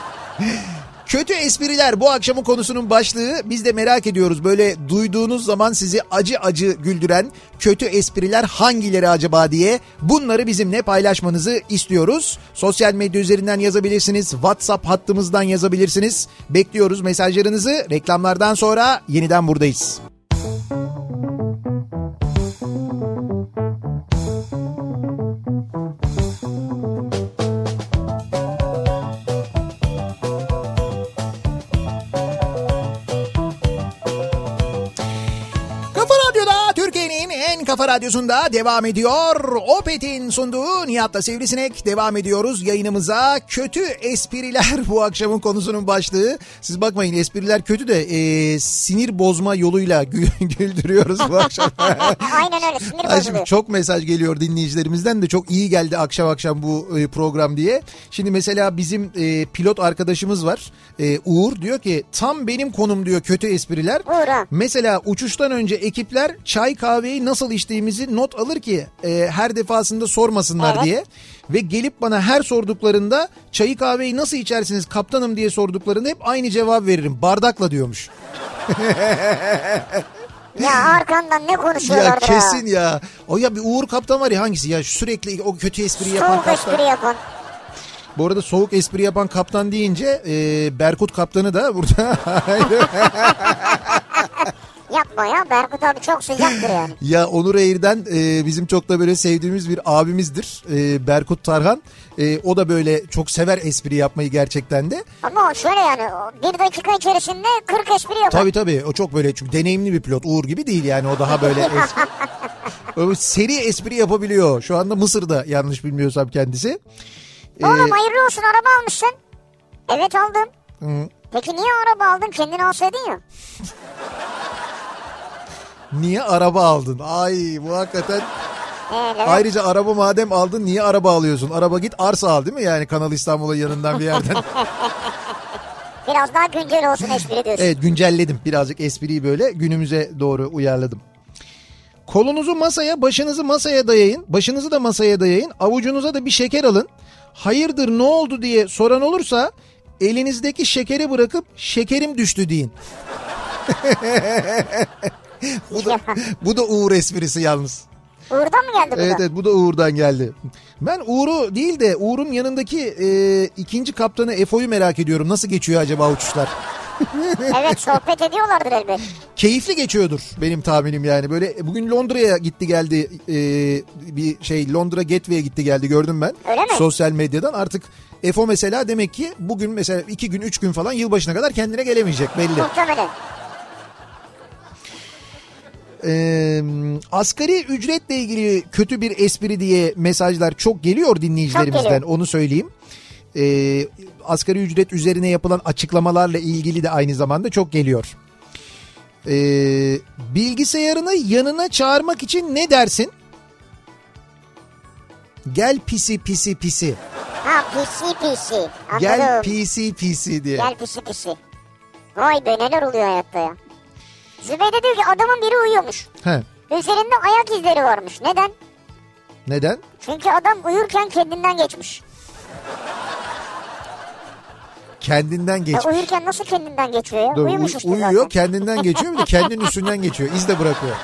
A: kötü espriler bu akşamın konusunun başlığı. Biz de merak ediyoruz böyle duyduğunuz zaman sizi acı acı güldüren kötü espriler hangileri acaba diye bunları bizimle paylaşmanızı istiyoruz. Sosyal medya üzerinden yazabilirsiniz, WhatsApp hattımızdan yazabilirsiniz. Bekliyoruz mesajlarınızı. Reklamlardan sonra yeniden buradayız. Kafa Radyo'da Türkiye'nin en kafa radyosunda devam ediyor. Opet'in sunduğu Nihat'la Sivrisinek devam ediyoruz yayınımıza. Kötü espriler bu akşamın konusunun başlığı. Siz bakmayın espriler kötü de e, sinir bozma yoluyla gü- güldürüyoruz bu akşam.
B: Aynen öyle sinir
A: Ay şimdi
B: bozuluyor.
A: çok mesaj geliyor dinleyicilerimizden de çok iyi geldi akşam akşam bu e, program diye. Şimdi mesela bizim e, pilot arkadaşımız var E, Uğur diyor ki tam benim konum diyor kötü espriler.
B: Uğur ha.
A: Mesela uçuştan önce ekipler çay kahveyi nasıl içtiğimizi not alır ki e, her defasında sormasınlar
B: Evet.
A: diye. Ve gelip bana her sorduklarında çayı kahveyi nasıl içersiniz kaptanım diye sorduklarında hep aynı cevap veririm bardakla diyormuş.
B: Ya arkandan ne konuşuyorlar
A: Ya
B: be?
A: kesin ya. O ya bir Uğur Kaptan var ya hangisi ya sürekli o kötü espriyi yapan
B: Soğuk espri
A: kaptan.
B: yapan.
A: Bu arada soğuk espri yapan kaptan deyince e, Berkut Kaptan'ı da burada
B: Yapma ya Berkut abi çok sıcaktır yani.
A: ya Onur Eğir'den e, bizim çok da böyle sevdiğimiz bir abimizdir e, Berkut Tarhan. E, o da böyle çok sever espri yapmayı gerçekten de.
B: Ama o şöyle yani o bir dakika içerisinde 40 espri yapar.
A: Tabii tabii o çok böyle çünkü deneyimli bir pilot Uğur gibi değil yani o daha böyle espri. Öyle seri espri yapabiliyor. Şu anda Mısır'da yanlış bilmiyorsam kendisi. e,
B: Oğlum hayırlı olsun araba almışsın. Evet aldım. Peki niye araba aldın? Kendin alsaydın ya.
A: Niye araba aldın? Ay bu hakikaten.
B: Ee, Levent,
A: Ayrıca araba madem aldın niye araba alıyorsun? Araba git arsa al değil mi? Yani Kanal İstanbul'a yanından bir yerden.
B: Biraz daha güncel olsun espri diyorsun.
A: evet güncelledim birazcık espriyi böyle günümüze doğru uyarladım. Kolunuzu masaya, başınızı masaya dayayın. Başınızı da masaya dayayın. Avucunuza da bir şeker alın. Hayırdır ne oldu diye soran olursa elinizdeki şekeri bırakıp şekerim düştü deyin. bu, da, bu da Uğur esprisi yalnız.
B: Uğur'dan mı geldi bu
A: Evet
B: da?
A: evet bu da Uğur'dan geldi. Ben Uğur'u değil de Uğur'un yanındaki e, ikinci kaptanı Efo'yu merak ediyorum. Nasıl geçiyor acaba uçuşlar?
B: Evet sohbet ediyorlardır elbet.
A: Keyifli geçiyordur benim tahminim yani. Böyle e, bugün Londra'ya gitti geldi e, bir şey Londra Gateway'e gitti geldi gördüm ben.
B: Öyle mi?
A: Sosyal medyadan artık EFO mesela demek ki bugün mesela iki gün üç gün falan yılbaşına kadar kendine gelemeyecek belli.
B: Muhtemelen.
A: Ee, asgari ücretle ilgili kötü bir espri diye mesajlar çok geliyor dinleyicilerimizden
B: Çok geliyor.
A: onu söyleyeyim. Ee, asgari ücret üzerine yapılan açıklamalarla ilgili de aynı zamanda çok geliyor. Ee, bilgisayarını yanına çağırmak için ne dersin? Gel pisi pisi pisi.
B: Ha pisi pisi. Anladım.
A: Gel
B: Gel,
A: pisi pisi diye.
B: pisi pisi. Vay be neler oluyor hayatta ya. Zübeyde diyor ki adamın biri uyuyormuş.
A: He,
B: Üzerinde ayak izleri varmış. Neden?
A: neden?
B: Çünkü adam uyurken kendinden geçmiş.
A: Kendinden
B: Ya
A: geçmiş.
B: uyurken nasıl kendinden geçiyor ya?
A: Dur, uy-
B: Uyumuş işte
A: uyuyor
B: zaten.
A: kendinden geçiyor bir de kendinin üstünden geçiyor. iz de bırakıyor.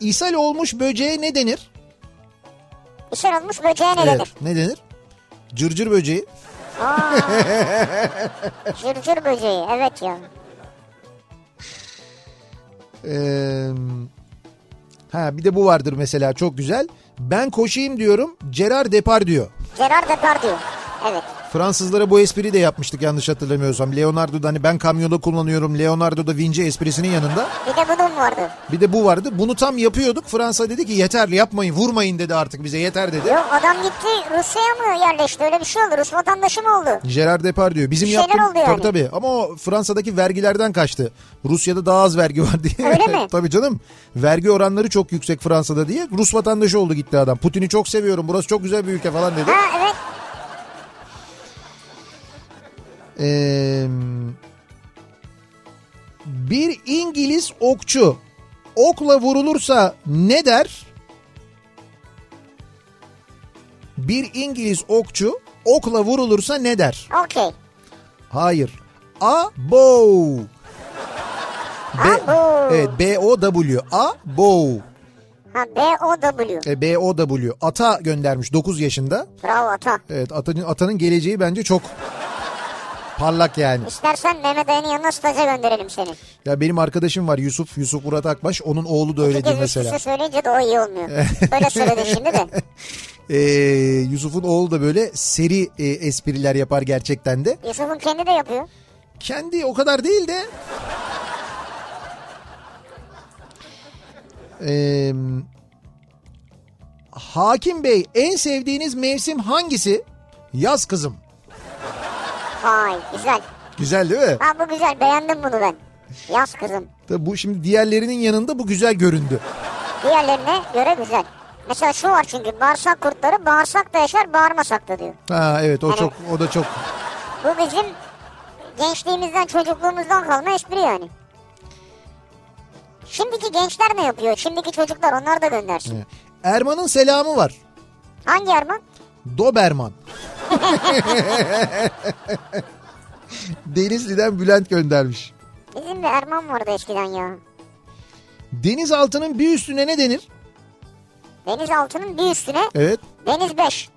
A: İshal olmuş böceğe ne denir?
B: İşler olmuş böceğe ne denir?
A: Ne denir? Cırcır böceği.
B: Aa. Cırcır böceği evet ya.
A: Ee, ha bir de bu vardır mesela çok güzel. Ben koşayım diyorum. Gerard Depar diyor.
B: Gerard Depardieu. Evet.
A: Fransızlara bu espriyi de yapmıştık yanlış hatırlamıyorsam. Leonardo'da hani ben kamyonu kullanıyorum. Leonardo'da vinci esprisinin yanında.
B: Bir de bunun vardı.
A: Bir de bu vardı. Bunu tam yapıyorduk. Fransa dedi ki yeterli yapmayın vurmayın dedi artık bize yeter dedi.
B: Yok adam gitti Rusya'ya mı yerleşti? Öyle bir şey oldu. Rus vatandaşı mı oldu?
A: Gerard Depardieu. Bizim
B: Bir şeyler
A: yaptığımız
B: oldu yani.
A: tabii tabii ama o Fransa'daki vergilerden kaçtı. Rusya'da daha az vergi var diye.
B: Öyle mi?
A: tabii canım. Vergi oranları çok yüksek Fransa'da diye Rus vatandaşı oldu gitti adam. Putin'i çok seviyorum. Burası çok güzel bir ülke falan dedi.
B: Ha evet.
A: Ee, bir İngiliz okçu okla vurulursa ne der? Bir İngiliz okçu okla vurulursa ne der?
B: Okey.
A: Hayır. Abo. B
B: Abo.
A: Evet, B O W. Abo.
B: Ha B-O-W.
A: E, B O W. Ata göndermiş 9 yaşında.
B: Bravo ata.
A: Evet, atanın atanın geleceği bence çok parlak yani.
B: İstersen Mehmet Ali'nin yanına staja gönderelim seni.
A: Ya benim arkadaşım var Yusuf, Yusuf Murat Akbaş. Onun oğlu da
B: Bir
A: öyledir
B: kez üst
A: mesela.
B: üste söyleyince de o iyi olmuyor. Böyle söyledi şimdi de.
A: Ee, Yusuf'un oğlu da böyle seri e, espriler yapar gerçekten de.
B: Yusuf'un kendi de yapıyor.
A: Kendi o kadar değil de. Ee, Hakim Bey en sevdiğiniz mevsim hangisi? Yaz kızım.
B: Vay güzel.
A: Güzel değil mi?
B: Ha bu güzel beğendim bunu ben. Yaz kızım.
A: Tabii bu şimdi diğerlerinin yanında bu güzel göründü.
B: Diğerlerine göre güzel. Mesela şu var çünkü bağırsak kurtları bağırsak da yaşar bağırmasak da diyor.
A: Ha evet o çok o da çok.
B: Bu bizim gençliğimizden çocukluğumuzdan kalma espri yani. Şimdiki gençler ne yapıyor? Şimdiki çocuklar onlar da göndersin.
A: Erman'ın selamı var.
B: Hangi Erman?
A: Doberman. Denizli'den Bülent göndermiş.
B: Bizim de Erman vardı eskiden ya.
A: Denizaltının bir üstüne ne denir?
B: Denizaltının bir üstüne
A: Evet.
B: deniz 5.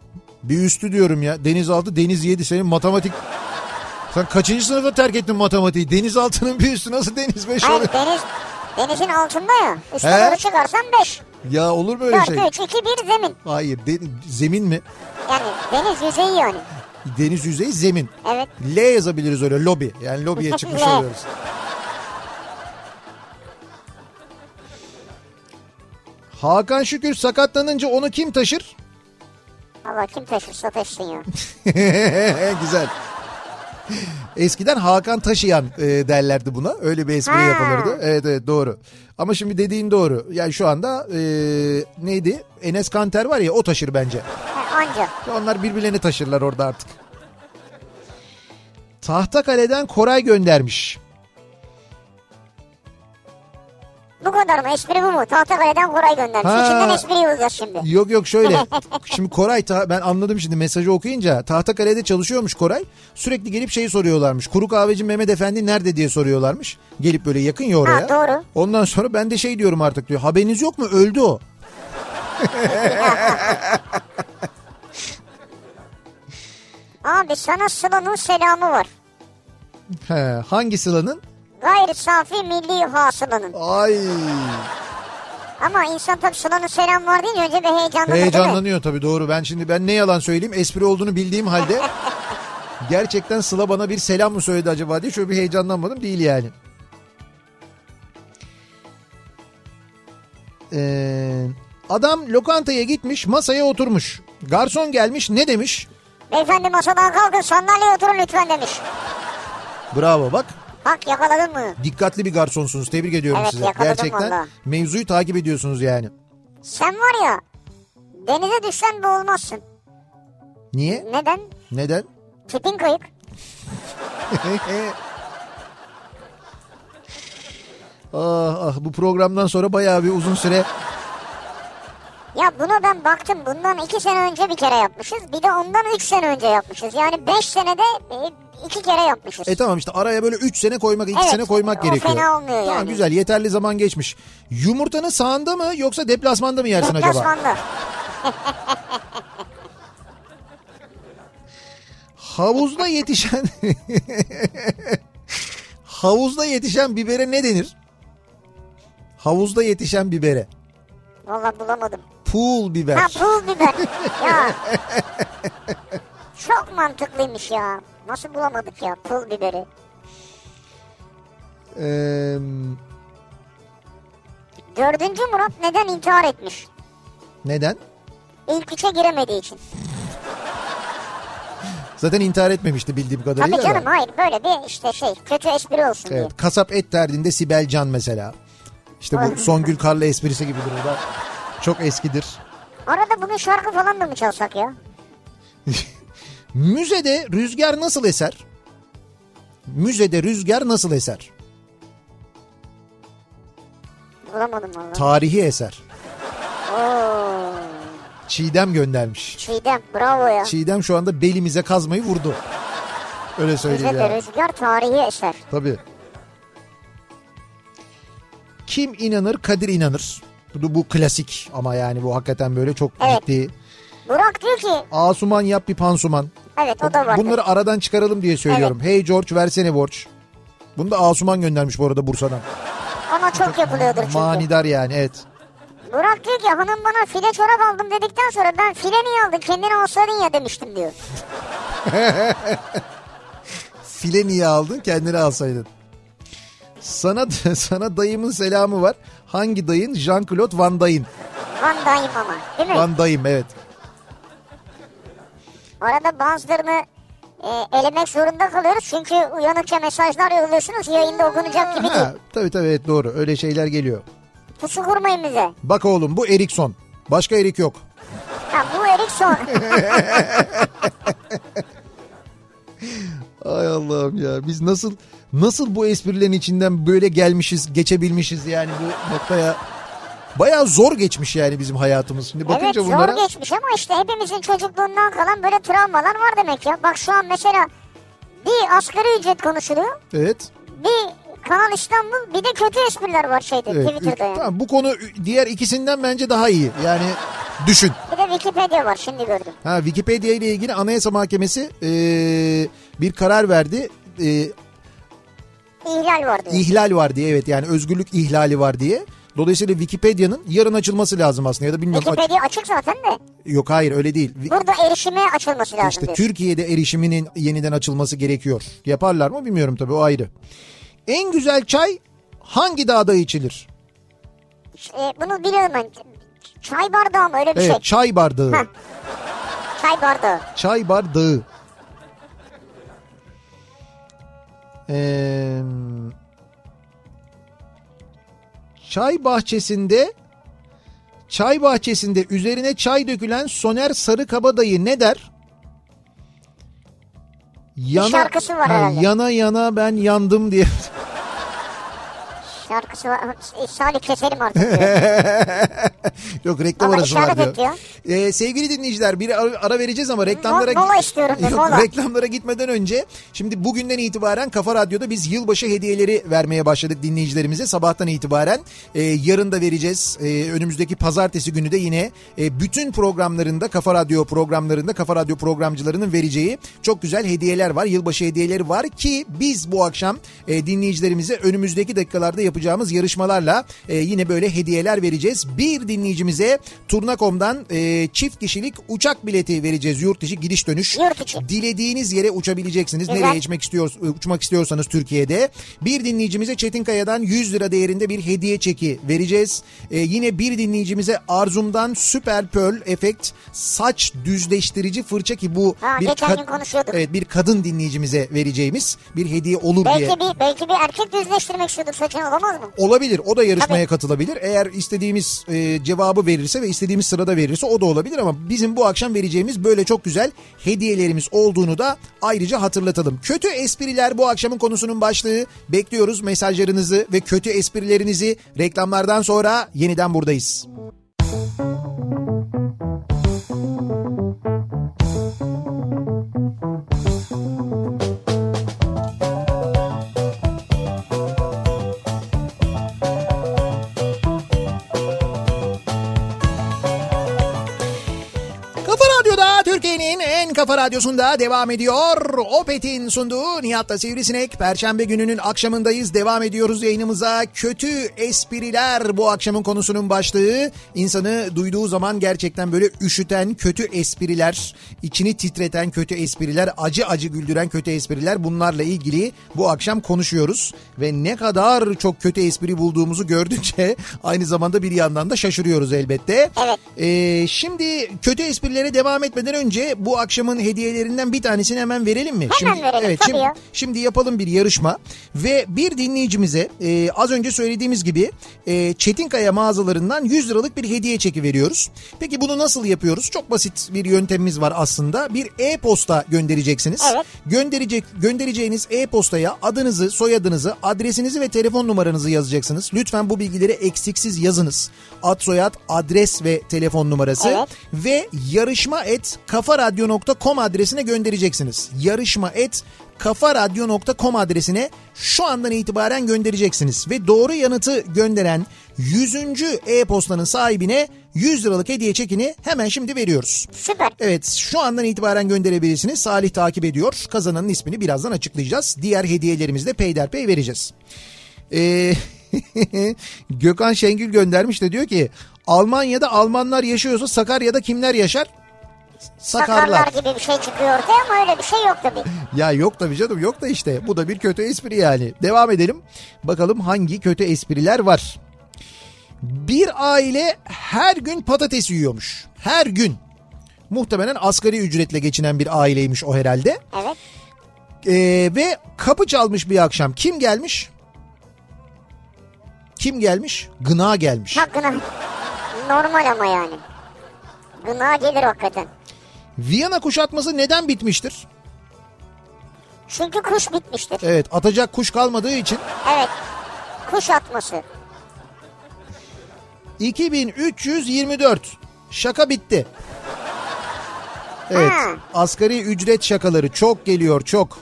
A: Bir üstü diyorum ya. Denizaltı deniz yedi senin matematik. Sen kaçıncı sınıfta terk ettin matematiği? Denizaltının bir üstü nasıl deniz beş
B: Hayır
A: olur?
B: deniz denizin altında ya.
A: He?
B: Üstüne doğru çıkarsan 5.
A: Ya olur böyle
B: 4,
A: şey.
B: 3, 2, 1 zemin.
A: Hayır de- zemin mi?
B: Yani deniz yüzeyi yani.
A: Deniz yüzeyi zemin.
B: Evet.
A: L yazabiliriz öyle lobi. Yani lobiye çıkmış
B: L.
A: oluyoruz. Hakan Şükür sakatlanınca onu kim taşır?
B: Allah kim taşırsa taşısın ya.
A: Güzel. Eskiden Hakan Taşıyan e, derlerdi buna. Öyle bir espri
B: Ha.
A: yapılırdı. Evet evet doğru. Ama şimdi dediğin doğru. Yani şu anda e, neydi? Enes Kanter var ya o taşır bence.
B: Ha, Anca.
A: Onlar birbirlerini taşırlar orada artık. Tahtakale'den Koray göndermiş.
B: Bu kadar mı? Espri bu mu? Tahtakale'den Koray göndermiş.
A: Ha.
B: İçinden espri yollayacağız şimdi.
A: Yok yok şöyle. Şimdi Koray ta- ben anladım şimdi mesajı okuyunca Tahtakale'de çalışıyormuş Koray. Sürekli gelip şeyi soruyorlarmış. Kuru kahveci Mehmet Efendi nerede diye soruyorlarmış. Gelip böyle yakın ya oraya.
B: Ha, doğru.
A: Ondan sonra ben de şey diyorum artık diyor. Haberiniz yok mu? Öldü o.
B: Abi sana Sıla'nın selamı var.
A: He, hangi Sıla'nın?
B: Gayri safi milli hasılının.
A: Ay
B: Ama insan tabii Sıla'nın selamı var deyince önce bir heyecanlanır değil mi?
A: heyecanlanıyor tabii doğru. Ben şimdi ben ne yalan söyleyeyim espri olduğunu bildiğim halde gerçekten Sıla bana bir selam mı söyledi acaba diye şöyle bir heyecanlanmadım değil yani. Ee, adam lokantaya gitmiş masaya oturmuş. Garson gelmiş ne demiş?
B: Beyefendi masadan kalkın sandalyeye oturun lütfen demiş.
A: Bravo bak
B: Bak yakaladın mı?
A: dikkatli bir garsonsunuz tebrik ediyorum
B: Evet,
A: size.
B: yakaladım
A: Gerçekten
B: vallahi.
A: mevzuyu takip ediyorsunuz yani.
B: Sen var ya denize düşsen boğulmazsın.
A: Niye?
B: Neden?
A: Neden?
B: Tipin kayık.
A: ah ah bu programdan sonra bayağı bir uzun süre
B: Ya buna ben baktım bundan iki sene önce bir kere yapmışız. Bir de ondan üç sene önce yapmışız. Yani beş senede e, iki kere yapmışız.
A: E tamam işte araya böyle 3 sene koymak 2
B: Evet,
A: sene koymak
B: o
A: gerekiyor.
B: fena olmuyor
A: Tamam,
B: yani.
A: güzel yeterli zaman geçmiş. Yumurtanı sahanda mı yoksa deplasmanda mı yersin acaba?
B: Deplasmanda.
A: Havuzda yetişen Havuzda yetişen bibere ne denir? Havuzda yetişen bibere.
B: Valla bulamadım.
A: Pool biber.
B: Ha pul biber. ya. Çok mantıklıymış ya. Nasıl bulamadık ya pul biberi.
A: Ee,
B: Dördüncü Murat neden intihar etmiş?
A: neden?
B: İlk üçe giremediği için.
A: Zaten intihar etmemişti bildiğim kadarıyla.
B: Tabii
A: da.
B: canım hayır böyle bir işte şey kötü espri olsun diye.
A: Evet, kasap et derdinde Sibel Can mesela. İşte bu Songül Karlı esprisi gibidir o da. Çok eskidir.
B: Arada bunun şarkı falan da mı çalsak ya?
A: Müzede rüzgar nasıl eser? Müzede rüzgar nasıl eser?
B: Bulamadım valla.
A: Tarihi eser.
B: Oo.
A: Çiğdem göndermiş.
B: Çiğdem bravo ya.
A: Çiğdem şu anda belimize kazmayı vurdu. Öyle söyleyeyim
B: Bize de
A: yani.
B: rüzgar tarihi eser.
A: Tabii. Kim inanır Kadir inanır. Bu, bu klasik ama yani bu hakikaten böyle çok
B: Evet.
A: ciddi.
B: Burak diyor ki
A: Asuman yap bir pansuman.
B: evet o da var.
A: Bunları aradan çıkaralım diye söylüyorum. Hey George versene borç. Bunu da Asuman göndermiş bu arada Bursa'dan.
B: Ama çok yapılıyordur çünkü.
A: Manidar yani evet.
B: Burak diyor ki hanım bana file çorap aldım dedikten sonra ben file niye aldın kendine olsaydın ya demiştim diyor.
A: File niye aldın kendini alsaydın. Sana sana dayımın selamı var. Hangi dayın? Jean-Claude Van Dayın.
B: Van dayım ama değil mi?
A: Van Dayım evet.
B: Arada bazılarını e, elemek zorunda kalıyoruz. Çünkü uyanıkça mesajlar yolluyorsunuz yayında okunacak gibi değil.
A: Ha, tabii tabii evet doğru öyle şeyler geliyor.
B: Pusu kurmayın bize.
A: Bak oğlum bu Erikson. Başka Erik yok.
B: Ha, bu Erikson.
A: Ay Allah'ım ya biz nasıl nasıl bu esprilerin içinden böyle gelmişiz geçebilmişiz yani bu noktaya. Bayağı zor geçmiş yani bizim hayatımız. Şimdi
B: evet
A: bakınca
B: zor
A: bunlara
B: geçmiş ama işte hepimizin çocukluğundan kalan böyle travmalar var demek ya. Bak şu an mesela bir asgari ücret konuşuluyor.
A: evet.
B: Bir Kanal İstanbul bir de kötü espriler var şeyde
A: evet.
B: Twitter'da yani.
A: Tamam, bu konu diğer ikisinden bence daha iyi. Yani düşün.
B: Bir de Wikipedia var şimdi gördüm.
A: Ha Wikipedia ile ilgili Anayasa Mahkemesi eee, bir karar verdi. Eee
B: İhlal var diyor.
A: ihlal var diye evet yani özgürlük ihlali var diye. Dolayısıyla Wikipedia'nın yarın açılması lazım aslında ya da bilmiyorum. aç-
B: Wikipedia açık zaten de
A: Yok hayır öyle değil. Vi-
B: burada erişime açılması lazım
A: İşte
B: diyor.
A: Türkiye'de erişiminin yeniden açılması gerekiyor. Yaparlar mı bilmiyorum tabii o ayrı. En güzel çay hangi dağda içilir?
B: E, bunu biliyorum ben. Çay bardağı mı öyle bir
A: Evet
B: şey?
A: çay bardağı.
B: Heh. Çay bardağı.
A: Çay bardağı. Ee, çay bahçesinde çay bahçesinde üzerine çay dökülen Soner Sarıkabadayı ne der? Yana,
B: şarkısı var herhalde.
A: yana yana ben yandım diye.
B: şarkısı var. Salih keselim artık diyor.
A: Yok reklam
B: Ama
A: arası var
B: işaret
A: diyor.
B: et diyor.
A: Ee, sevgili dinleyiciler bir ara, ara vereceğiz ama reklamlara...
B: Mola istiyorum ben,
A: Yok,
B: mola.
A: reklamlara gitmeden önce şimdi bugünden itibaren Kafa Radyo'da biz yılbaşı hediyeleri vermeye başladık dinleyicilerimize. Sabahtan itibaren Ee, yarın da vereceğiz. Ee, önümüzdeki pazartesi günü de yine e, bütün programlarında Kafa Radyo programlarında Kafa Radyo programcılarının vereceği çok güzel hediyeler var. Yılbaşı hediyeleri var ki biz bu akşam e, dinleyicilerimize önümüzdeki dakikalarda yapacağımız yarışmalarla e, yine böyle hediyeler vereceğiz. Bir dinleyicimize Turna.com'dan e, çift kişilik uçak bileti vereceğiz. Yurt dışı gidiş dönüş.
B: Yurt içi.
A: Dilediğiniz yere uçabileceksiniz.
B: Güzel.
A: Nereye uçmak, istiyor, uçmak istiyorsanız Türkiye'de. Bir dinleyicimize Çetin Kaya'dan 100 lira değerinde bir hediye çeki vereceğiz. Ee, yine bir dinleyicimize Arzum'dan Süper Pearl Efekt saç düzleştirici fırça ki bu
B: Ha,
A: bir,
B: geçen
A: kad-
B: gün konuşuyorduk.
A: evet, bir kadın dinleyicimize vereceğimiz bir hediye olur diye.
B: Belki bir, belki bir erkek düzleştirmek istiyordur saçını olamaz mı?
A: Olabilir. O da yarışmaya
B: Tabii.
A: katılabilir. Eğer istediğimiz e, cevabı verirse ve istediğimiz sırada verirse o da olabilir ama bizim bu akşam vereceğimiz böyle çok güzel hediyelerimiz olduğunu da ayrıca hatırlatalım. Kötü espriler bu akşamın konusunun başlığı. Bekliyoruz mesajlarınızı ve kötü esprilerinizi reklamlardan sonra yeniden buradayız. Kafa Radyo'da Türkiye'nin en kafa radyosunda devam ediyor. Opet'in sunduğu Nihat'la Sivrisinek. Perşembe gününün akşamındayız. Devam ediyoruz yayınımıza. Kötü espriler bu akşamın konusunun başlığı. İnsanı duyduğu zaman gerçekten böyle üşüten kötü espriler, içini titreten kötü espriler, acı acı güldüren kötü espriler bunlarla ilgili bu akşam konuşuyoruz. Ve ne kadar çok kötü espri bulduğumuzu gördükçe aynı zamanda bir yandan da şaşırıyoruz elbette.
B: Evet.
A: Ee, şimdi kötü esprilere devam etmeden önce bu akşamın hediyelerinden bir tanesini hemen verelim mi?
B: Hemen verelim,
A: evet,
B: tabii
A: şimdi,
B: ya.
A: şimdi yapalım bir yarışma ve bir dinleyicimize e, az önce söylediğimiz gibi e, Çetinkaya mağazalarından 100 liralık bir hediye çeki veriyoruz. Peki bunu nasıl yapıyoruz? Çok basit bir yöntemimiz var aslında. Bir e-posta göndereceksiniz.
B: Evet.
A: Gönderecek göndereceğiniz e-postaya adınızı, soyadınızı, adresinizi ve telefon numaranızı yazacaksınız. Lütfen bu bilgileri eksiksiz yazınız. Ad, soyad, adres ve telefon numarası
B: Evet.
A: ve yarışma et kafaradyo.com adresine göndereceksiniz. Yarışma et kafaradyo.com adresine şu andan itibaren göndereceksiniz ve doğru yanıtı gönderen 100. e-postanın sahibine 100 liralık hediye çekini hemen şimdi veriyoruz.
B: Süper.
A: Evet şu andan itibaren gönderebilirsiniz. Salih takip ediyor. Kazananın ismini birazdan açıklayacağız. Diğer hediyelerimizi de peyderpey vereceğiz. Ee, Gökhan Şengül göndermiş de diyor ki Almanya'da Almanlar yaşıyorsa Sakarya'da kimler yaşar? Sakarlar.
B: Sakarlar gibi bir şey çıkıyor ortaya ama öyle bir şey yok tabii.
A: Ya yok tabii canım yok da işte bu da bir kötü espri yani. Devam edelim. Bakalım hangi kötü espriler var. Bir aile her gün patates yiyormuş. Her gün. Muhtemelen asgari ücretle geçinen bir aileymiş o herhalde.
B: Evet.
A: Ee, ve kapı çalmış bir akşam. Kim gelmiş? Kim gelmiş? Gına gelmiş.
B: Hakkına. Normal ama yani. Gına gelir hakikaten.
A: Viyana kuşatması neden bitmiştir?
B: Çünkü kuş bitmiştir.
A: Evet atacak kuş kalmadığı için
B: Evet. Kuş atması.
A: 2324. Şaka bitti. Evet.
B: Ha.
A: Asgari ücret şakaları çok geliyor çok.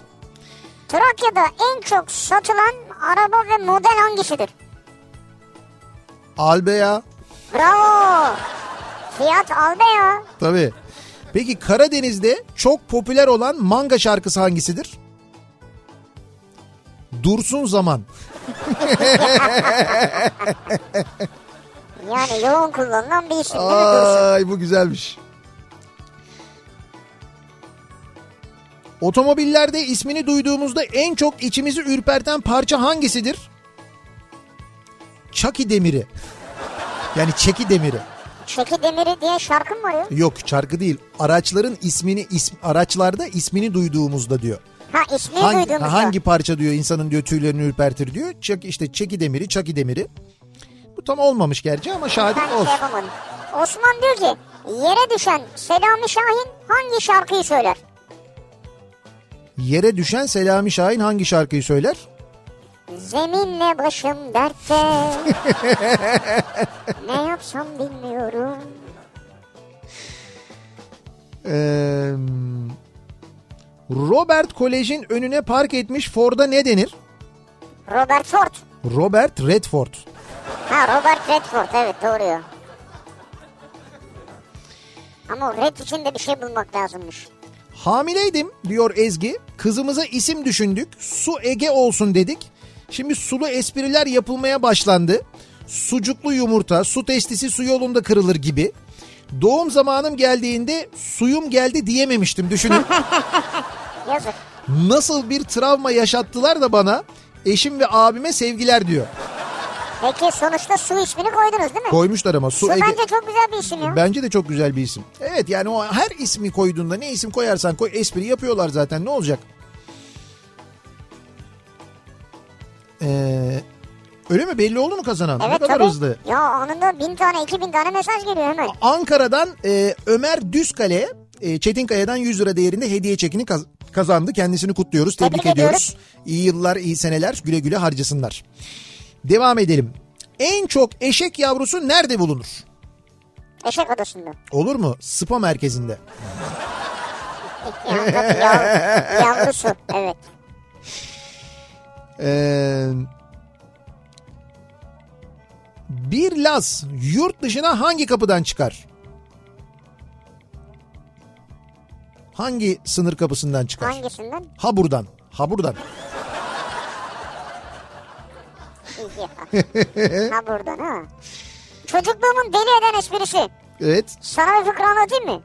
B: Trakya'da en çok satılan araba ve model hangisidir?
A: Albe ya.
B: Bravo. Fiat Albea.
A: Tabii. Peki Karadeniz'de çok popüler olan manga şarkısı hangisidir? Dursun zaman.
B: Yani yoğun kullanılan bir isim değil mi Dursun?
A: Ay bu güzelmiş. Otomobillerde ismini duyduğumuzda en çok içimizi ürperten parça hangisidir? Çaki demiri. Yani çeki demiri.
B: Çeki Demiri diye şarkım var ya.
A: Yok şarkı değil. Araçların ismini ism, araçlarda ismini duyduğumuzda diyor.
B: Ha ismini
A: Hangi,
B: duydum.
A: hangi parça diyor insanın diyor tüylerini ürpertir diyor. Çak, işte çeki demiri, çaki demiri. Bu tam olmamış gerçi ama şahit
B: Ben şey
A: olsun.
B: yapamadım. Osman diyor ki yere düşen Selami Şahin hangi şarkıyı söyler?
A: Yere düşen Selami Şahin hangi şarkıyı söyler?
B: Zeminle başım dertte. ne yapsam bilmiyorum.
A: Ee, Robert Kolej'in önüne park etmiş Ford'a ne denir?
B: Robert Ford.
A: Robert Redford.
B: Ha Robert Redford evet doğru ya. Ama o red için de bir şey bulmak lazımmış.
A: Hamileydim diyor Ezgi. Kızımıza isim düşündük. Su Ege olsun dedik. Şimdi sulu espriler yapılmaya başlandı. Sucuklu yumurta, su testisi su yolunda kırılır gibi. Doğum zamanım geldiğinde suyum geldi diyememiştim düşünün.
B: Yazık.
A: Nasıl bir travma yaşattılar da bana. Eşim ve abime sevgiler diyor.
B: Peki sonuçta su ismini koydunuz değil mi?
A: Koymuşlar ama su,
B: su
A: Ege.
B: bence çok güzel bir isim ya.
A: Bence de çok güzel bir isim. Evet yani o her ismi koyduğunda ne isim koyarsan koy espri yapıyorlar zaten ne olacak? Ee, öyle mi belli oldu mu kazanan? ne
B: evet
A: kadar
B: tabii.
A: hızlı.
B: Ya anında bin tane iki bin tane mesaj geliyor hemen.
A: Ankara'dan e, Ömer Düzkale e, Çetinkaya'dan 100 lira değerinde hediye çekini kaz- kazandı. Kendisini kutluyoruz. Tebrik,
B: Tebrik
A: ediyoruz. İyi yıllar, iyi seneler. Güle güle harcasınlar. Devam edelim. En çok eşek yavrusu nerede bulunur?
B: Eşek odasında.
A: Olur mu? Spa merkezinde.
B: Ya, tabii yav- yavrusu evet.
A: Ee, bir Laz yurt dışına hangi kapıdan çıkar? Hangi sınır kapısından çıkar?
B: Hangisinden?
A: Ha buradan. Ha buradan.
B: ha buradan ha. Çocukluğumun deli eden esprisi.
A: Evet.
B: Sana bir fıkra anlatayım mı?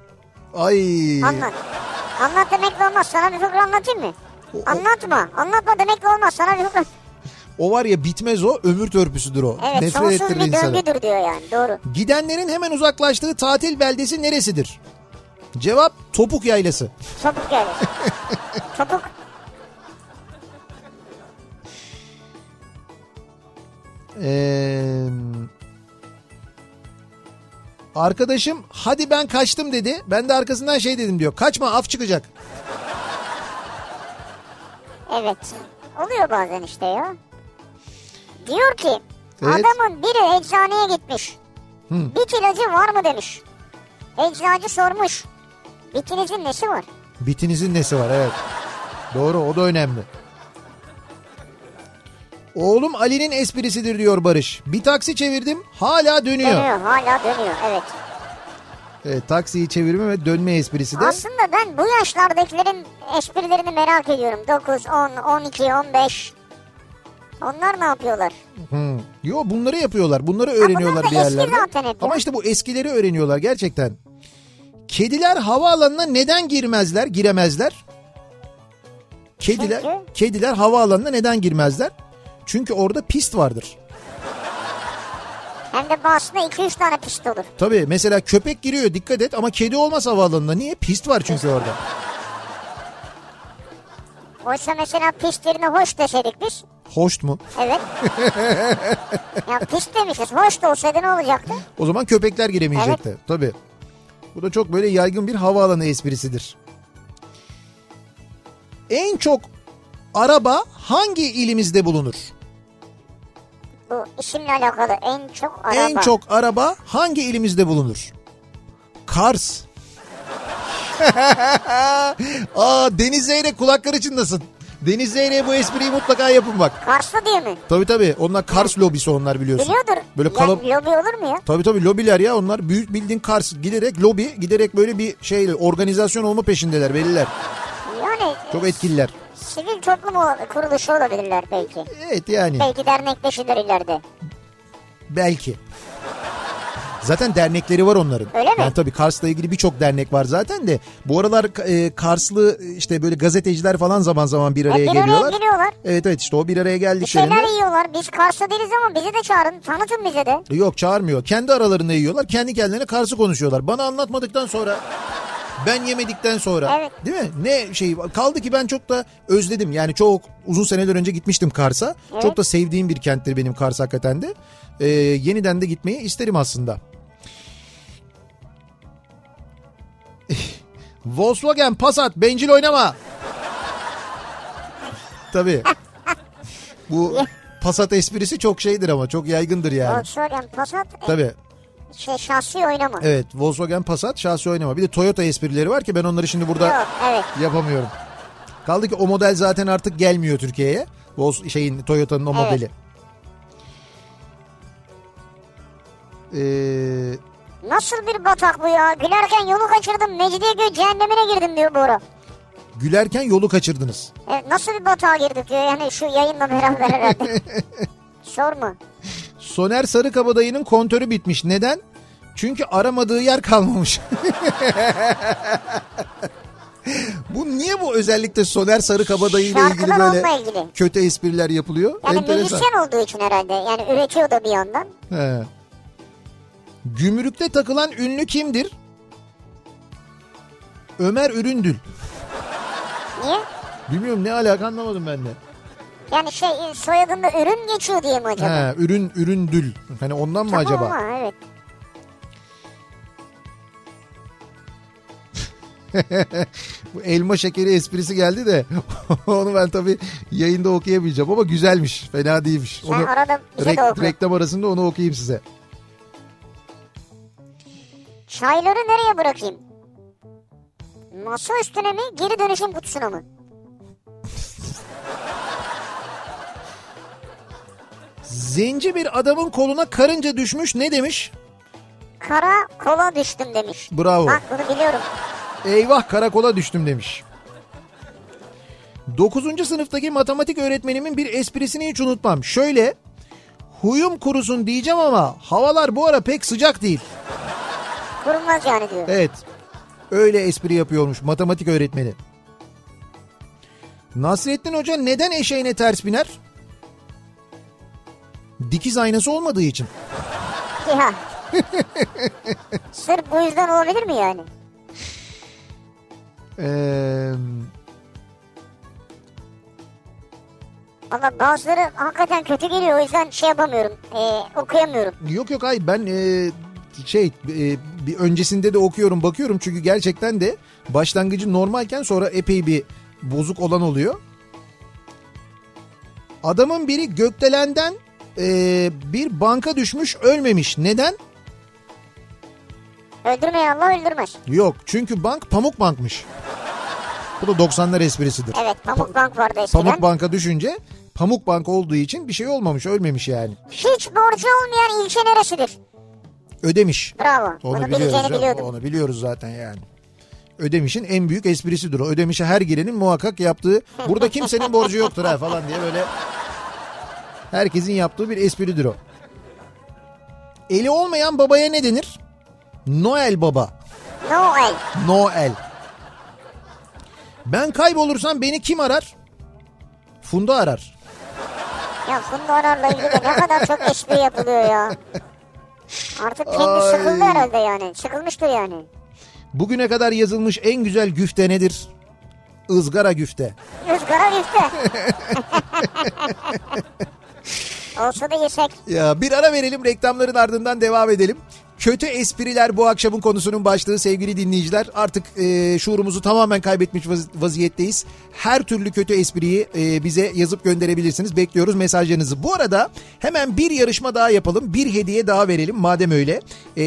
A: Ay.
B: Anlat. Anlat demekle olmaz. Sana bir fıkra anlatayım mı? Anlatma. Anlatma demekle olmaz. Sana bir fıkra...
A: O var ya bitmez o. Ömür törpüsüdür o.
B: Evet
A: Nefret
B: sonsuz
A: ettirir
B: bir
A: insanı.
B: döngüdür diyor yani. Doğru.
A: Gidenlerin hemen uzaklaştığı tatil beldesi neresidir? Cevap Topuk Yaylası.
B: Çabuk yani. Çabuk.
A: Ee, arkadaşım hadi ben kaçtım dedi. Ben de arkasından şey dedim diyor. Kaçma af çıkacak.
B: Evet. Oluyor bazen işte ya. Diyor ki
A: Evet.
B: adamın biri eczaneye gitmiş.
A: Hı.
B: Bit ilacı var mı demiş. Eczacı sormuş. Bitinizin nesi var?
A: Bitinizin nesi var evet. Doğru o da önemli. Oğlum Ali'nin esprisidir diyor Barış. Bir taksi çevirdim hala dönüyor.
B: Dönüyor hala dönüyor evet.
A: Evet, taksiyi çevirme ve dönme esprisi de.
B: Aslında ben bu yaşlardakilerin esprilerini merak ediyorum. 9, 10, 12, 15. Onlar ne yapıyorlar?
A: Hı. Hmm. Yo bunları yapıyorlar. Bunları öğreniyorlar
B: bunlar da
A: bir
B: eski
A: yerlerde.
B: zaten hep ya.
A: Ama işte bu eskileri öğreniyorlar gerçekten. Kediler havaalanına neden girmezler, giremezler? Kediler
B: Çünkü?
A: kediler havaalanına neden girmezler? Çünkü orada pist vardır.
B: Hem de bazısında 2-3 tane pist olur.
A: Tabii mesela köpek giriyor dikkat et ama kedi olmaz havaalanına. Niye? Pist var çünkü orada.
B: Oysa mesela pist yerine hoş deseydik biz.
A: Hoşt mu?
B: Evet. ya pist demişiz. Hoş da olsaydı ne olacaktı?
A: O zaman köpekler giremeyecekti. Tabii. Bu da çok böyle yaygın bir havaalanı esprisidir. En çok araba hangi ilimizde bulunur?
B: Bu işimle alakalı en çok araba.
A: En çok araba hangi ilimizde bulunur? Kars. Aa Deniz Zeyrek kulakları çınlasın. Deniz Zeyrek'e bu espriyi mutlaka yapın bak.
B: Karslı değil mi?
A: Tabii tabii onlar Kars lobisi onlar biliyorsun.
B: Biliyordur.
A: Böyle kalab-
B: Yani lobi olur mu ya?
A: Tabii tabii lobiler ya onlar büyük bildiğin Kars giderek lobi giderek böyle bir şey organizasyon olma peşindeler belliler.
B: Yani
A: Çok e- etkililer.
B: sivil toplum ol- kuruluşu olabilirler belki.
A: Evet yani
B: Belki dernekleşirler ileride.
A: belki. Zaten dernekleri var onların.
B: Öyle mi?
A: Yani tabii Kars'la ilgili birçok dernek var zaten de. Bu aralar e, Karslı işte böyle gazeteciler falan zaman zaman bir
B: E,
A: araya
B: bir araya
A: geliyorlar.
B: geliyorlar.
A: Evet evet işte o bir araya
B: Bir şeyler
A: geldiklerinde.
B: yiyorlar. Biz Kars'ta değiliz ama bizi de çağırın. Tanıtın bize de.
A: Yok çağırmıyor. Kendi aralarında yiyorlar. Kendi kendilerine Kars'ı konuşuyorlar. Bana anlatmadıktan sonra ben yemedikten sonra
B: Evet.
A: değil mi? Ne şey kaldı ki ben çok da özledim. Yani çok uzun seneler önce gitmiştim Kars'a. Çok da sevdiğim bir kenttir benim Kars hakikaten de. Ee, yeniden de gitmeyi isterim aslında. Volkswagen Passat bencil oynama. Tabii. Bu Passat esprisi çok şeydir ama çok yaygındır yani.
B: Volkswagen Passat e,
A: Tabii
B: şey şahsi oynama.
A: evet Volkswagen Passat şahsi oynama. Bir de Toyota esprileri var ki ben onları şimdi burada
B: Yok evet.
A: yapamıyorum. Kaldı ki o model zaten artık gelmiyor Türkiye'ye. Volks- şeyin Toyota'nın o
B: Evet.
A: modeli. Ee,
B: Nasıl bir batak bu ya? Gülerken yolu kaçırdım. Mecidiyeköy cehennemine girdim diyor Bora.
A: gülerken yolu kaçırdınız.
B: Evet, nasıl bir batağa girdik diyor. Yani şu yayınla beraber herhalde. Sorma.
A: Soner Sarıkabadayı'nın kontörü bitmiş. Neden? Çünkü aramadığı yer kalmamış. bu niye bu özellikle Soner Sarıkabadayı ile ilgili
B: Şarkıdan
A: böyle
B: onunla ilgili.
A: kötü espriler yapılıyor?
B: Yani
A: Enteresan.
B: müzisyen olduğu için herhalde. Yani üretiyor da bir yandan.
A: He. Gümrükte takılan ünlü kimdir? Ömer Üründül.
B: Niye?
A: Bilmiyorum ne alaka anlamadım ben de.
B: Yani şey soyadında ürün geçiyor diye mi acaba?
A: He, ürün Üründül. Hani ondan mı
B: Tamam
A: acaba?
B: ama evet.
A: Bu elma şekeri esprisi geldi de onu ben tabii yayında okuyamayacağım ama güzelmiş. Fena değilmiş.
B: Sen arada bize de
A: rek-
B: oku.
A: reklam arasında onu okuyayım size.
B: Çayları nereye bırakayım? Masa üstüne mi geri dönüşüm kutusuna mı?
A: Zenci bir adamın koluna karınca düşmüş ne demiş?
B: Kara kola düştüm demiş.
A: Bravo.
B: Bak bunu biliyorum.
A: Eyvah karakola düştüm demiş. 9. sınıftaki matematik öğretmenimin bir esprisini hiç unutmam. Şöyle huyum kurusun diyeceğim ama havalar bu ara pek sıcak değil.
B: Kurulmaz yani diyor.
A: Evet. Öyle espri yapıyormuş matematik öğretmeni. Nasrettin Hoca neden eşeğine ters biner? Dikiz aynası olmadığı için.
B: Ya. Sırf bu yüzden olabilir mi yani?
A: Ee,
B: Valla bazıları hakikaten kötü geliyor o yüzden şey yapamıyorum. Ee, okuyamıyorum.
A: yok yok hayır ben ee, şey ee, bir öncesinde de okuyorum bakıyorum çünkü gerçekten de başlangıcı normalken sonra epey bir bozuk olan oluyor. Adamın biri gökdelenden ee, bir banka düşmüş ölmemiş. Neden?
B: Öldürmeyi Allah öldürmez.
A: Yok çünkü bank Pamuk Bank'mış. Bu da 90'lar esprisidir.
B: Evet Pamuk Bank vardı eskiden.
A: Pamuk Bank'a düşünce Pamuk Bank olduğu için bir şey olmamış ölmemiş yani.
B: Hiç borcu olmayan ilçe neresidir?
A: Ödemiş.
B: Bravo.
A: Onu
B: bunu
A: biliyoruz.
B: bileceğini
A: ya,
B: biliyordum.
A: Onu biliyoruz zaten yani. Ödemiş'in en büyük esprisidir o. Ödemiş'e her girenin muhakkak yaptığı burada kimsenin borcu yoktur ha falan diye böyle herkesin yaptığı bir espridir o. Eli olmayan babaya ne denir? Noel baba.
B: Noel.
A: Noel. Ben kaybolursam beni kim arar? Funda arar.
B: Ya Funda Arar'la ilgili de ne kadar çok espri yapılıyor ya. Artık kendi sıkıldı herhalde yani. Sıkılmıştır yani.
A: Bugüne kadar yazılmış en güzel güfte nedir? Izgara güfte.
B: Rüzgara üfte. Olsa da yesek.
A: Ya bir ara verelim reklamların ardından devam edelim. Kötü espriler bu akşamın konusunun başlığı sevgili dinleyiciler. Artık e, şuurumuzu tamamen kaybetmiş vaz- vaziyetteyiz. Her türlü kötü espriyi e, bize yazıp gönderebilirsiniz. Bekliyoruz mesajlarınızı. Bu arada hemen bir yarışma daha yapalım. Bir hediye daha verelim madem öyle. E,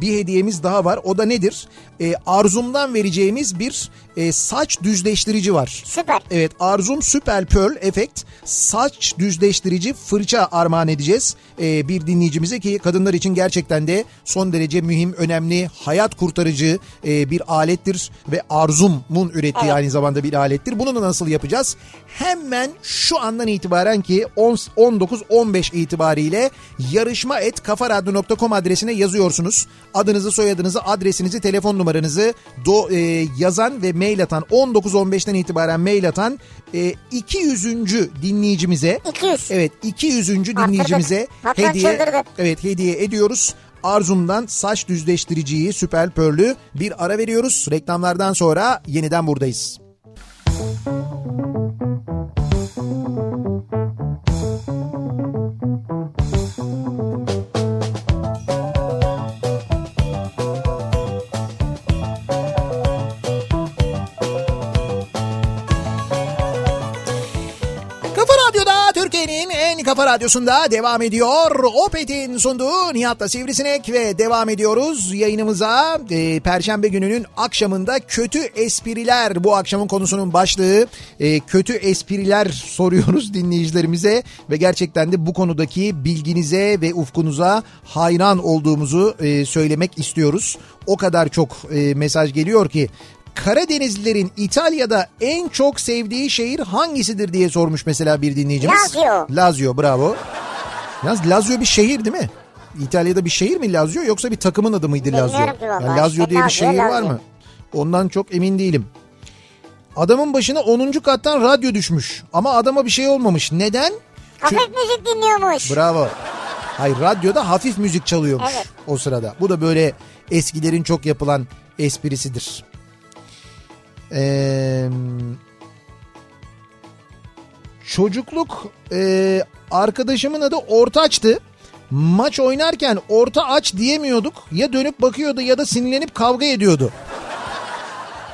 A: bir hediyemiz daha var. O da nedir? E, Arzum'dan vereceğimiz bir e, saç düzleştirici var.
B: Süper.
A: Evet Arzum Süper Pearl Effect saç düzleştirici fırça armağan edeceğiz Ee, bir dinleyicimize ki kadınlar için gerçekten de son derece mühim, önemli, hayat kurtarıcı e, bir alettir ve Arzum'un ürettiği aynı zamanda bir alettir. Bunu da nasıl yapacağız? Hemen şu andan itibaren ki 10 19-15 itibariyle yarışma et kafaradyo.com adresine yazıyorsunuz. Adınızı, soyadınızı, adresinizi, telefon numaranızı do, e, yazan ve mail atan 19-15'ten itibaren mail atan e, 200. dinleyicimize
B: 200.
A: evet 200. dinleyicimize
B: Hatta
A: hediye
B: çıldırdı.
A: evet hediye ediyoruz. Arzum'dan saç düzleştiriciyi Süper Pörlü bir ara veriyoruz. Reklamlardan sonra yeniden buradayız.
D: Kafa Radyo'da
A: Türkiye'nin en kafa radyosunda devam ediyor. Opet'in sunduğu Nihat'la Sivrisinek ve devam ediyoruz yayınımıza. Ee, Perşembe gününün akşamında kötü espriler bu akşamın konusunun başlığı. Ee, kötü espriler soruyoruz dinleyicilerimize ve gerçekten de bu konudaki bilginize ve ufkunuza hayran olduğumuzu e, söylemek istiyoruz. O kadar çok e, mesaj geliyor ki Karadenizlilerin İtalya'da en çok sevdiği şehir hangisidir diye sormuş mesela bir dinleyicimiz.
B: Lazio.
A: Lazio bravo. Yalnız Lazio bir şehir değil mi? İtalya'da bir şehir mi Lazio yoksa bir takımın adı mıydı Lazio?
B: Bilmiyorum ki vallahi.
A: Yani Lazio
B: İşte
A: diye bir
B: Lazio,
A: şehir var
B: Lazio.
A: mı? Ondan çok emin değilim. Adamın başına 10. kattan radyo düşmüş ama adama bir şey olmamış. Neden?
B: Hafif müzik dinliyormuş.
A: Bravo. Hayır radyoda hafif müzik çalıyormuş
B: Evet.
A: o sırada. Bu da böyle eskilerin çok yapılan esprisidir. Ee, çocukluk e, arkadaşımın adı Ortaç'tı. Maç oynarken orta aç diyemiyorduk. Ya dönüp bakıyordu ya da sinirlenip kavga ediyordu.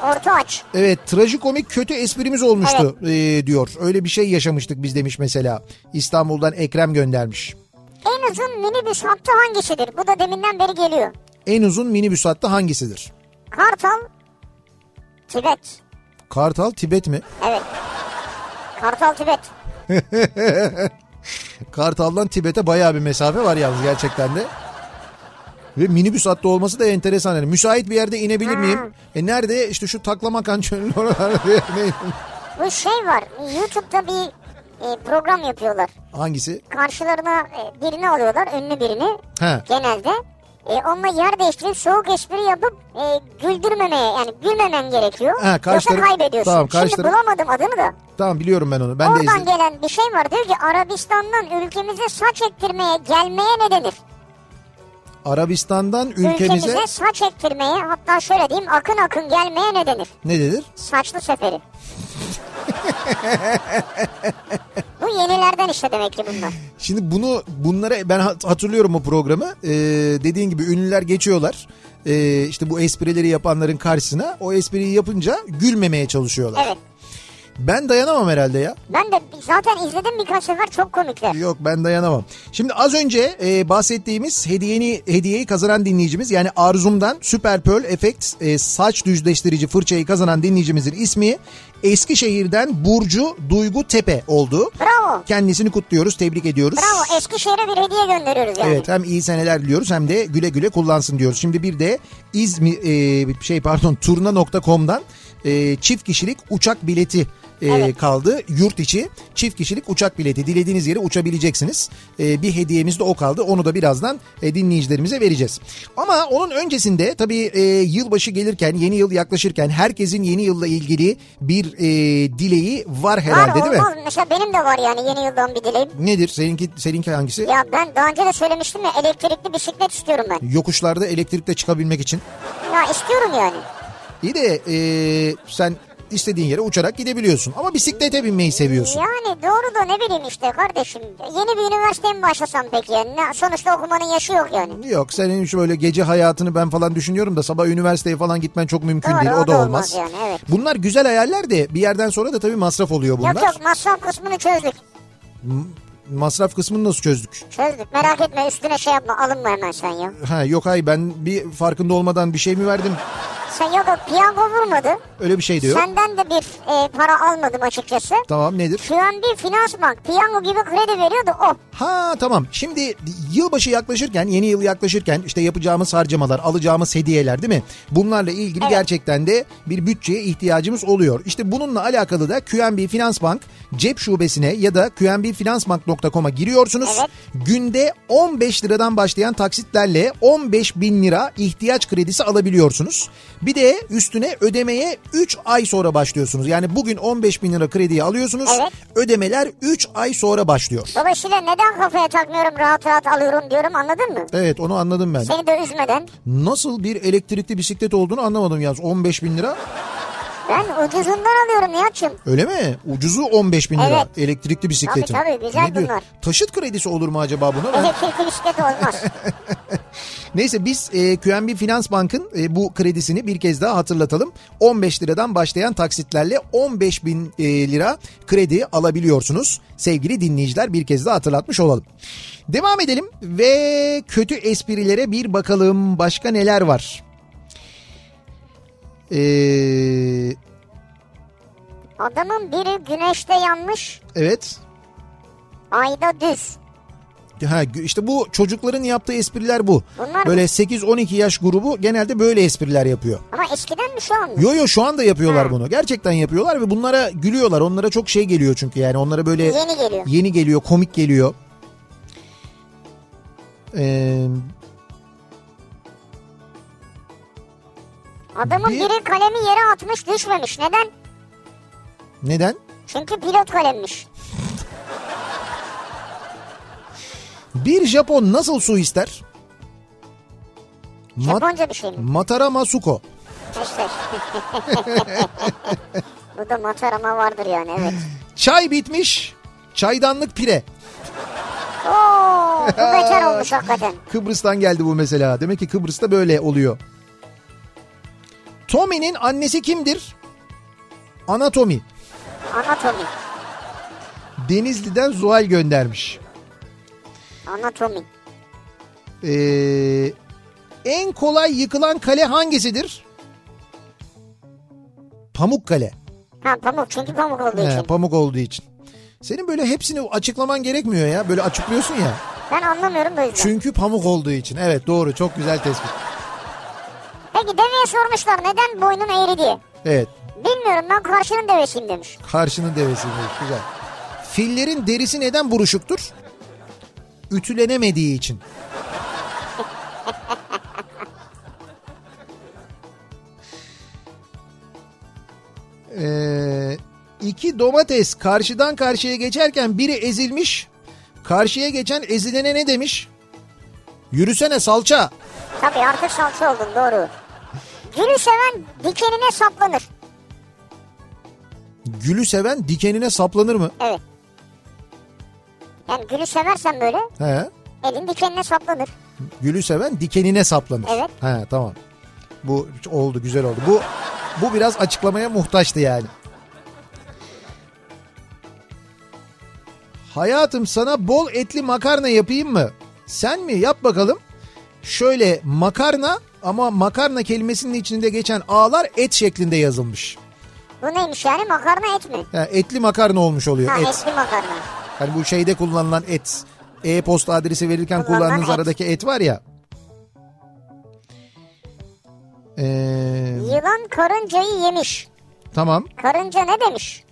B: Orta aç.
A: Evet trajikomik kötü esprimiz olmuştu e, diyor. Öyle bir şey yaşamıştık biz demiş mesela. İstanbul'dan Ekrem göndermiş.
B: En uzun minibüs hattı hangisidir? Bu da deminden beri geliyor.
A: En uzun minibüs hattı hangisidir?
B: Kartal, Tibet.
A: Kartal Tibet mi?
B: Evet. Kartal Tibet.
A: Kartal'dan Tibet'e bayağı bir mesafe var yalnız gerçekten de. Ve minibüs hattı olması da enteresan. Yani müsait bir yerde inebilir
B: Hmm.
A: miyim? E nerede? İşte şu Taklamakan çölünün oralarda. Ne-
B: Bu şey var. YouTube'da bir e, program yapıyorlar.
A: Hangisi?
B: Karşılarına e, birini alıyorlar. Ünlü birini.
A: He.
B: Genelde. E, onunla yer değiştirip soğuk espri yapıp e, güldürmemeye yani gülmemen gerekiyor.
A: Ha, karşı
B: Yoksa
A: taraf-
B: kaybediyorsun.
A: Tamam, karşı
B: Şimdi
A: taraf-
B: bulamadım adını da.
A: Tamam biliyorum ben onu. Ben de
B: Oradan
A: izledim.
B: gelen bir şey var. Diyor ki Arabistan'dan ülkemize saç ektirmeye gelmeye ne denir?
A: Arabistan'dan
B: Ülkemize...
A: ülkemize
B: saç ektirmeye hatta şöyle diyeyim akın akın gelmeye ne denir?
A: ne denir?
B: Saçlı seferi. Bu yenilerden işte demek ki bunlar.
A: Şimdi bunu bunlara ben hat- hatırlıyorum o programı. Ee, dediğin gibi ünlüler geçiyorlar. Ee, işte bu esprileri yapanların karşısına o espriyi yapınca gülmemeye çalışıyorlar.
B: Evet.
A: Ben dayanamam herhalde ya.
B: Ben de zaten izledim birkaç sefer çok komikler.
A: Yok ben dayanamam. Şimdi az önce e, bahsettiğimiz hediyeni hediyeyi kazanan dinleyicimiz yani Arzum'dan Süper Pearl Effect e, saç düzleştirici fırçayı kazanan dinleyicimizin ismi Eskişehir'den Burcu Duygu Tepe oldu.
B: Bravo.
A: Kendisini kutluyoruz, tebrik ediyoruz.
B: Bravo Eskişehir'e bir hediye gönderiyoruz yani.
A: Evet hem iyi seneler diliyoruz hem de güle güle kullansın diyoruz. Şimdi bir de İzmir e, şey pardon turna.com'dan e, çift kişilik uçak bileti e, kaldı. Yurt içi çift kişilik uçak bileti. Dilediğiniz yere uçabileceksiniz. E, bir hediyemiz de o kaldı. Onu da birazdan e, dinleyicilerimize vereceğiz. Ama onun öncesinde tabii e, yılbaşı gelirken yeni yıl yaklaşırken herkesin yeni yılla ilgili bir e, dileği var
B: Var
A: herhalde değil mi?
B: olmaz. Mesela benim de var yani yeni yıldan bir dileğim.
A: Nedir? Seninki seninki hangisi?
B: Ya ben daha önce de söylemiştim ya elektrikli bisiklet istiyorum ben.
A: Yokuşlarda elektrikle çıkabilmek için.
B: Ya istiyorum yani.
A: İyi de e, sen istediğin yere uçarak gidebiliyorsun. Ama bisiklete binmeyi seviyorsun.
B: Yani doğru da ne bileyim işte kardeşim. Yeni bir üniversiteye mi başlasam peki yani? Ne- Sonuçta okumanın yaşı yok yani.
A: Yok senin şu böyle gece hayatını ben falan düşünüyorum da sabah üniversiteye falan gitmen çok mümkün
B: Doğru,
A: değil. O,
B: o
A: da
B: da
A: olmaz.
B: olmaz yani, evet.
A: Bunlar güzel hayaller de bir yerden sonra da tabii masraf oluyor bunlar.
B: Yok yok masraf kısmını çözdük.
A: Masraf kısmını nasıl çözdük?
B: Çözdük merak etme üstüne şey yapma alınma hemen sen ya.
A: Ha yok hay ben bir farkında olmadan bir şey mi verdim?
B: Sen yok yok piyango vurmadı.
A: Öyle bir şey diyor.
B: Senden de bir e, para almadım açıkçası.
A: Tamam nedir?
B: QNB Finans Bank piyango gibi kredi veriyordu oh. o.
A: Ha tamam. Şimdi yılbaşı yaklaşırken, yeni yıl yaklaşırken işte yapacağımız harcamalar, alacağımız hediyeler değil mi? Bunlarla ilgili gerçekten de bir bütçeye ihtiyacımız oluyor. İşte bununla alakalı da QNB Finans Bank cep şubesine ya da qnbfinansbank.com'a giriyorsunuz. Günde 15 liradan başlayan taksitlerle 15 bin lira ihtiyaç kredisi alabiliyorsunuz. Bir de üstüne ödemeye 3 ay sonra başlıyorsunuz. Yani bugün 15 bin lira krediyi alıyorsunuz.
B: Evet.
A: Ödemeler 3 ay sonra başlıyor.
B: Dolayısıyla neden kafaya takmıyorum rahat rahat alıyorum diyorum anladın mı?
A: Evet onu anladım ben.
B: Seni de üzmeden.
A: Nasıl bir elektrikli bisiklet olduğunu anlamadım yalnız. 15 bin lira.
B: Ben ucuzundan alıyorum Nihat'cığım.
A: Öyle mi? Ucuzu 15 bin lira
B: Evet.
A: elektrikli bisikletin.
B: Tabii, tabii, güzel
A: diyor?
B: bunlar.
A: Taşıt kredisi olur mu acaba buna? Ben-
B: Elektrikli bisiklet olmaz.
A: Neyse biz e, QNB Finans Bank'ın e, bu kredisini bir kez daha hatırlatalım. 15 liradan başlayan taksitlerle 15 bin e, lira kredi alabiliyorsunuz. Sevgili dinleyiciler bir kez daha hatırlatmış olalım. Devam edelim ve kötü esprilere bir bakalım. Başka neler var? E, Ee,
B: Adamın biri güneşte yanmış,
A: evet.
B: ayda düz.
A: Ha, gü- işte bu çocukların yaptığı espriler bu.
B: Bunlar-
A: Böyle 8-12 yaş grubu genelde böyle espriler yapıyor.
B: Ama eskiden mi şu an mı?
A: Yo yo şu anda yapıyorlar bunu. Gerçekten yapıyorlar ve bunlara gülüyorlar. Onlara çok şey geliyor çünkü yani onlara böyle
B: Yeni geliyor.
A: yeni geliyor, komik geliyor. Ee,
B: Adamın
A: Bir-
B: biri kalemi yere atmış düşmemiş. Neden?
A: neden?
B: Çünkü pilot kalemmiş.
A: Bir Japon nasıl su ister? Ma-
B: Japonca bir şey mi?
A: Matara Masuko.
B: İşte. Bu da matarama vardır yani evet.
A: Çay bitmiş, çaydanlık pire.
B: Oo, bu bekar olmuş hakikaten.
A: Kıbrıs'tan geldi bu mesela. Demek ki Kıbrıs'ta böyle oluyor. Tommy'nin annesi kimdir? Anatomi.
B: Anatomi.
A: Denizli'den Zuhal göndermiş.
B: Anatomi.
A: Ee, en kolay yıkılan kale hangisidir? Pamukkale.
B: Ha pamuk çünkü pamuk olduğu
A: He,
B: için.
A: pamuk olduğu için. Senin böyle hepsini açıklaman gerekmiyor ya. Böyle açıklıyorsun ya.
B: ben anlamıyorum bu yüzden.
A: Çünkü pamuk olduğu için. Evet doğru çok güzel tespit.
B: Peki deveye sormuşlar neden boynun eğri diye.
A: Evet
B: Bilmiyorum ben karşının devesiyim demiş.
A: karşının devesiymiş güzel. Fillerin derisi neden buruşuktur? Ütülenemediği için. Ee, iki domates karşıdan karşıya geçerken biri ezilmiş. Karşıya geçen ezilene ne demiş? Yürüsene salça.
B: Tabii artık salça oldun doğru. Gülü seven dikenine saplanır.
A: Gülü seven dikenine saplanır mı?
B: Evet. Yani gülü seversen böyle
A: He.
B: elin dikenine saplanır.
A: Gülü seven dikenine saplanır.
B: Evet.
A: He tamam. Bu oldu güzel oldu. Bu bu biraz açıklamaya muhtaçtı yani. Hayatım sana bol etli makarna yapayım mı? Sen mi? Yap bakalım. Şöyle makarna ama makarna kelimesinin içinde geçen ağlar et şeklinde yazılmış.
B: Bu neymiş yani makarna et mi?
A: Yani etli makarna olmuş oluyor.
B: Ha
A: et.
B: etli makarna.
A: Hani bu şeyde kullanılan et. E-posta adresi verirken
B: Kullanılan
A: kullandığınız
B: et.
A: aradaki et var ya. Ee,
B: Yılan karıncayı yemiş.
A: tamam.
B: Karınca ne demiş?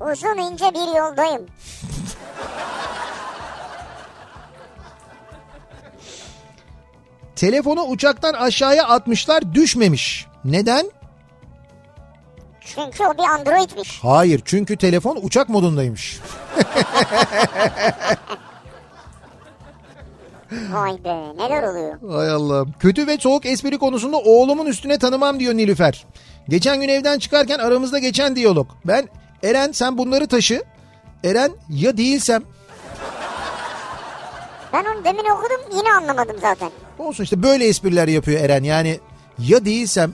B: Uzun ince bir yoldayım.
A: Telefonu uçaktan aşağıya atmışlar düşmemiş. Neden?
B: Çünkü o bir androidmiş.
A: Hayır çünkü telefon uçak modundaymış.
B: Vay be neler oluyor.
A: Hay Allah'ım. Kötü ve soğuk espri konusunda oğlumun üstüne tanımam diyor Nilüfer. Geçen gün evden çıkarken aramızda geçen diyalog. Ben Eren sen bunları taşı. Eren ya değilsem
B: Ben onu demin okudum yine anlamadım zaten.
A: Olsun işte böyle espriler yapıyor Eren. Yani ya değilsem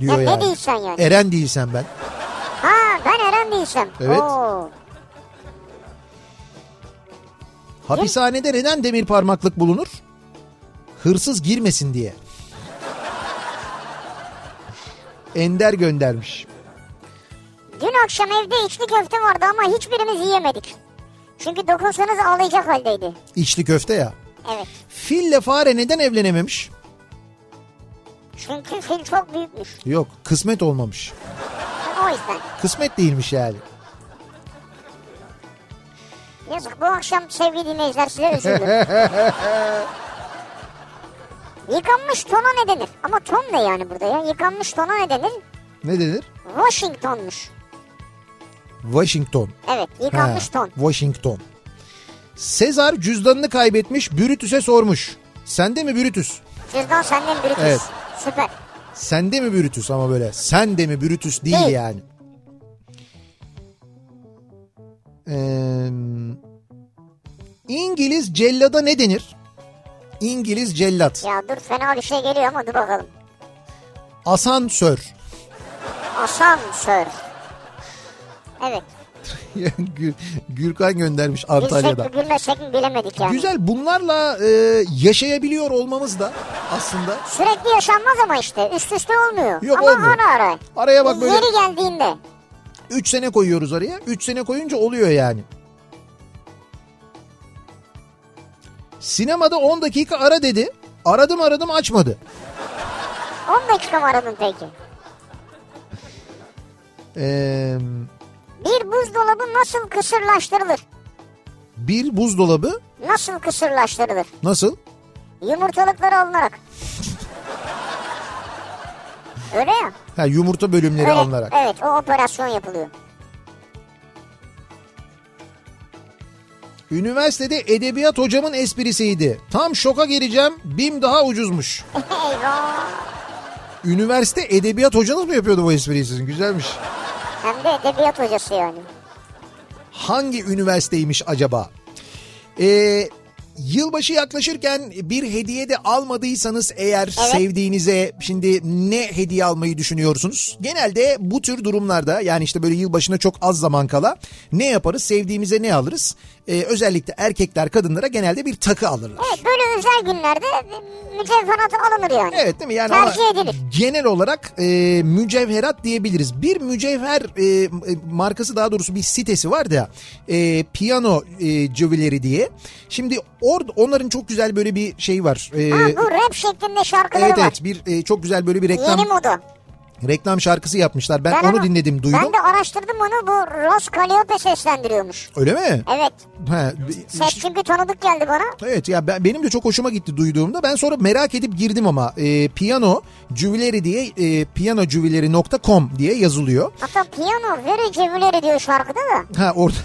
B: Ya
A: diyor
B: ne
A: yani.
B: değilsen yani.
A: Eren değilsem ben.
B: Ha ben Eren değilsem.
A: Evet.
B: Oo.
A: Hapishanede neden demir parmaklık bulunur? Hırsız girmesin diye. Ender göndermiş.
B: Dün akşam evde içli köfte vardı ama hiçbirimiz yiyemedik. Çünkü dokunsanız ağlayacak haldeydi.
A: İçli köfte ya.
B: Evet.
A: Fille fare neden evlenememiş?
B: Çünkü fil çok büyükmüş.
A: Yok kısmet olmamış.
B: O yüzden.
A: Kısmet değilmiş yani.
B: Yazık bu akşam sevgili dinleyiciler size üzüldüm. Yıkanmış tona ne denir? Ama ton ne yani burada ya? Yıkanmış tona ne denir?
A: Ne denir?
B: Washington'muş.
A: Washington.
B: Evet
A: Ha,
B: yıkanmış ton.
A: Washington. Sezar cüzdanını kaybetmiş Brutus'e sormuş. Sende mi Brutus?
B: Cüzdan senden birikiz.
A: Evet.
B: Süper.
A: Sen de mi Brutus ama böyle? Sen de mi Brutus değil
B: Değil.
A: yani. Ee, İngiliz cellada ne denir? İngiliz cellat.
B: Ya dur fena bir şey geliyor ama dur bakalım.
A: Asansör.
B: Asansör. Evet.
A: Yani Gül- Gürkan göndermiş
B: Gülsek mi
A: Antalya'dan.
B: gülmesek mi bilemedik yani.
A: Güzel bunlarla e, yaşayabiliyor olmamız da aslında.
B: Sürekli yaşanmaz ama işte üst üste olmuyor.
A: Yok,
B: ama
A: olmuyor.
B: ara ara.
A: Araya bak böyle
B: Yeri geldiğinde.
A: 3 sene koyuyoruz araya. 3 sene koyunca oluyor yani. Sinemada 10 dakika ara dedi. Aradım aradım açmadı.
B: 10 dakika mı aradın peki?
A: Ee,
B: Bir buzdolabı nasıl kısırlaştırılır?
A: bir buzdolabı
B: Nasıl kısırlaştırılır?
A: nasıl?
B: Yumurtalıkları alınarak. Öyle ya.
A: Ha, yumurta bölümleri
B: Öyle,
A: alınarak.
B: Evet o operasyon yapılıyor.
A: Üniversitede edebiyat hocamın esprisiydi. Tam şoka gireceğim. Bim daha ucuzmuş.
B: Eyvah.
A: Üniversite edebiyat hocanız mı yapıyordu bu espriyi sizin? Güzelmiş.
B: Hem de edebiyat hocası yani.
A: hangi üniversiteymiş acaba? Ee, yılbaşı yaklaşırken bir hediye de almadıysanız eğer sevdiğinize şimdi ne hediye almayı düşünüyorsunuz? Genelde bu tür durumlarda yani işte böyle yılbaşına çok az zaman kala ne yaparız? Sevdiğimize ne alırız? Ee, özellikle erkekler kadınlara genelde bir takı alırlar.
B: Evet böyle özel günlerde mücevheratı alınır yani.
A: Evet değil mi? Yani
B: Tercih
A: ama
B: edilir.
A: genel olarak e, mücevherat diyebiliriz. Bir mücevher e, e, markası daha doğrusu bir sitesi var da e, piyano e, cövileri diye. Şimdi orada onların çok güzel böyle bir şey var. E,
B: Ha, bu rap şeklinde şarkıları
A: evet
B: var.
A: evet bir e, çok güzel böyle bir reklam
B: Yeni moda.
A: reklam şarkısı yapmışlar. Ben, onu
B: ama-
A: dinledim duydum.
B: Ben de araştırdım onu bu Ross Calliope seslendiriyormuş.
A: Öyle mi?
B: Evet.
A: Ha,
B: Ses çünkü tanıdık geldi bana.
A: Evet ya ben, benim de çok hoşuma gitti duyduğumda. Ben sonra merak edip girdim ama e, piyano cüvileri diye e, piyanocuvileri.com diye yazılıyor.
B: Hatta piyano veri cevüleri diyor şarkıda da.
A: Ha orada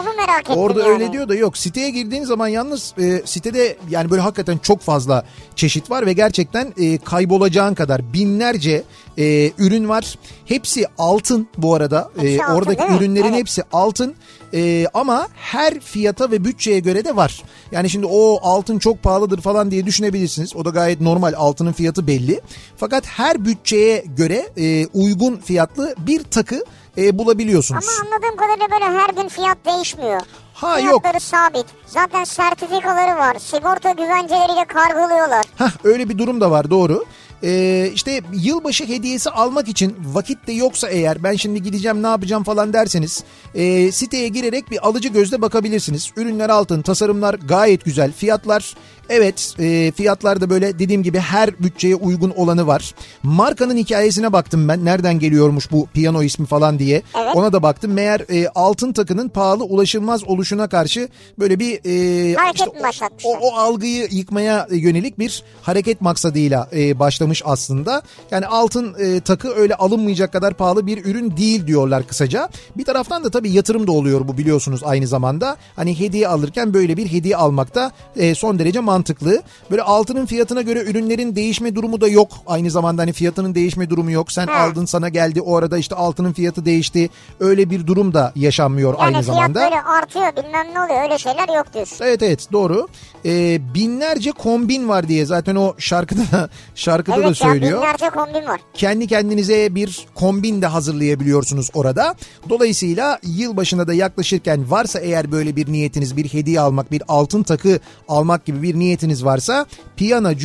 B: onu merak ettim
A: Orada
B: yani.
A: öyle diyor da yok siteye girdiğin zaman yalnız e, sitede yani böyle hakikaten çok fazla çeşit var ve gerçekten e, kaybolacağın kadar binlerce e, ürün var. Hepsi altın bu arada E,
B: Hepsi altın,
A: oradaki
B: değil mi?
A: ürünlerin
B: Evet.
A: hepsi altın E, ama her fiyata ve bütçeye göre de var. Yani şimdi o altın çok pahalıdır falan diye düşünebilirsiniz o da gayet normal altının fiyatı belli. Fakat her bütçeye göre e, uygun fiyatlı bir takı e, bulabiliyorsunuz.
B: Ama anladığım kadarıyla böyle her gün fiyat değişmiyor.
A: Ha,
B: Fiyatları sabit. Zaten sertifikaları var. Sigorta güvenceleriyle kargılıyorlar.
A: Hah öyle bir durum da var doğru. Ee, işte yılbaşı hediyesi almak için vakit de yoksa eğer ben şimdi gideceğim ne yapacağım falan derseniz e, siteye girerek bir alıcı gözle bakabilirsiniz. Ürünler altın, tasarımlar gayet güzel. Fiyatlar evet e, fiyatlar da böyle dediğim gibi her bütçeye uygun olanı var. Markanın hikayesine baktım ben nereden geliyormuş bu piyano ismi falan diye.
B: Evet.
A: Ona da baktım meğer e, altın takının pahalı ulaşılmaz oluşuna karşı böyle bir e,
B: Hareket
A: işte
B: mi
A: o-
B: başlatmışlar?
A: o, o algıyı yıkmaya yönelik bir hareket maksadıyla e, başlamış aslında. Yani altın e, takı öyle alınmayacak kadar pahalı bir ürün değil diyorlar kısaca. Bir taraftan da tabii yatırım da oluyor bu biliyorsunuz aynı zamanda. Hani hediye alırken böyle bir hediye almak da e, son derece mantıklı. Böyle altının fiyatına göre ürünlerin değişme durumu da yok. Aynı zamanda hani fiyatının değişme durumu yok. Sen
B: Ha.
A: aldın sana geldi o arada işte altının fiyatı değişti. Öyle bir durum da yaşanmıyor
B: Yani
A: aynı
B: fiyat
A: zamanda.
B: böyle artıyor bilmem ne oluyor öyle şeyler yok diyorsun.
A: Evet evet doğru. Ee, binlerce kombin var diye zaten o şarkıda da, şarkıda da
B: evet ya
A: söylüyor.
B: binlerce kombin var.
A: Kendi kendinize bir kombin de hazırlayabiliyorsunuz orada. Dolayısıyla yılbaşına da yaklaşırken varsa eğer böyle bir niyetiniz bir hediye almak bir altın takı almak gibi bir niyetiniz varsa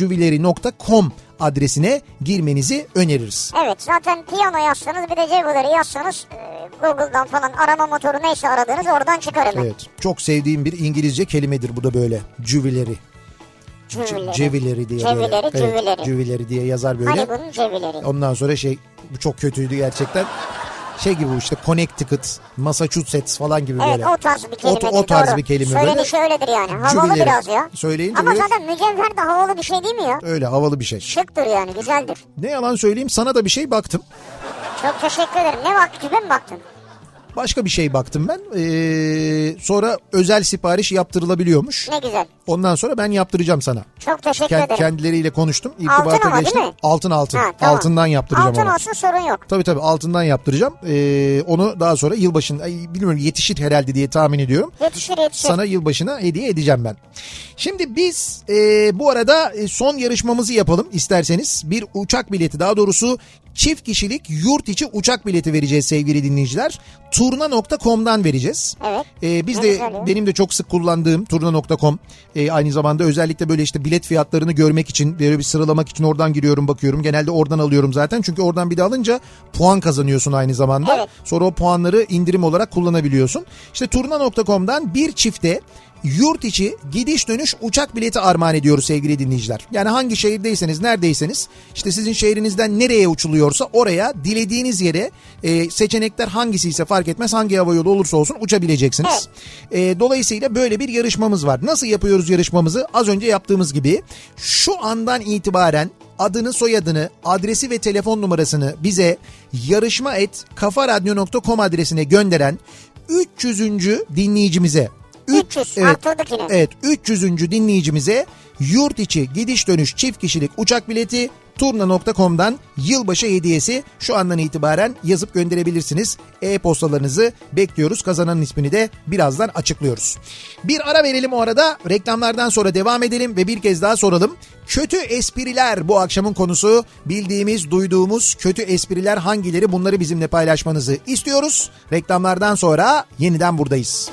A: piyanacuvileri.com adresine girmenizi öneririz.
B: Evet zaten piyano yazsanız bir de Cego'ları yazsanız e, Google'dan falan arama motoru neyse aradığınız oradan çıkar hemen.
A: Evet çok sevdiğim bir İngilizce kelimedir bu da böyle cüvileri.
B: Cüvileri.
A: Cevileri diye böyle.
B: Cevileri,
A: Evet,
B: cüvileri.
A: cüvileri diye yazar böyle.
B: Hani bunun cevileri.
A: Ondan sonra şey bu çok kötüydü gerçekten. Şey gibi bu işte Connecticut, Massachusetts falan gibi
B: Evet
A: böyle.
B: o tarz bir kelime.
A: O, o tarz
B: doğru. şey-
A: bir kelime böyle.
B: Söylenişi öyledir yani. Havalı
A: Cüvileri.
B: biraz ya.
A: Söyleyince
B: Ama
A: böyle-
B: zaten mücevher de havalı bir şey değil mi ya?
A: Öyle havalı bir şey.
B: Şıktır yani güzeldir.
A: Ne yalan söyleyeyim sana da bir şey baktım.
B: Çok teşekkür ederim. Ne baktın küpe mi baktın?
A: Başka bir şey baktım ben. Ee, sonra özel sipariş yaptırılabiliyormuş.
B: Ne güzel.
A: Ondan sonra ben yaptıracağım sana.
B: Çok teşekkür
A: Kend-
B: ederim.
A: kendileriyle konuştum.
B: Altın
A: İrtibata
B: ama
A: geçtim.
B: değil mi?
A: Altın altın.
B: Ha, tamam.
A: Altından yaptıracağım
B: Altın
A: onu.
B: olsun sorun yok.
A: Tabii tabii altından yaptıracağım. Ee, onu daha sonra yılbaşında ay, bilmiyorum yetişir herhalde diye tahmin ediyorum.
B: Yetişir yetişir.
A: Sana yılbaşına hediye edeceğim ben. Şimdi biz e, bu arada e, son yarışmamızı yapalım isterseniz. Bir uçak bileti daha doğrusu çift kişilik yurt içi uçak bileti vereceğiz sevgili dinleyiciler. Turna.com'dan vereceğiz.
B: Evet.
A: Ee, biz
B: Ne
A: de
B: güzel ya.
A: benim de çok sık kullandığım turna.com e, aynı zamanda özellikle böyle işte bilet fiyatlarını görmek için böyle bir sıralamak için oradan giriyorum bakıyorum. Genelde oradan alıyorum zaten çünkü oradan bir de alınca puan kazanıyorsun aynı zamanda.
B: Evet.
A: Sonra o puanları indirim olarak kullanabiliyorsun. İşte turna.com'dan bir çifte yurt içi gidiş dönüş uçak bileti armağan ediyoruz sevgili dinleyiciler. Yani hangi şehirdeyseniz neredeyseniz işte sizin şehrinizden nereye uçuluyorsa oraya dilediğiniz yere e, seçenekler hangisi ise fark etmez hangi hava yolu olursa olsun uçabileceksiniz. E, dolayısıyla böyle bir yarışmamız var. Nasıl yapıyoruz yarışmamızı? Az önce yaptığımız gibi şu andan itibaren adını soyadını adresi ve telefon numarasını bize yarışma et kafaradyo.com adresine gönderen 300. dinleyicimize
B: 300 arttırdık yine.
A: Evet 300. dinleyicimize yurt içi gidiş dönüş çift kişilik uçak bileti turna.com'dan yılbaşı hediyesi şu andan itibaren yazıp gönderebilirsiniz. E-postalarınızı bekliyoruz. Kazananın ismini de birazdan açıklıyoruz. Bir ara verelim o arada. Reklamlardan sonra devam edelim ve bir kez daha soralım. Kötü espriler bu akşamın konusu. Bildiğimiz, duyduğumuz kötü espriler hangileri bunları bizimle paylaşmanızı istiyoruz. Reklamlardan sonra yeniden buradayız.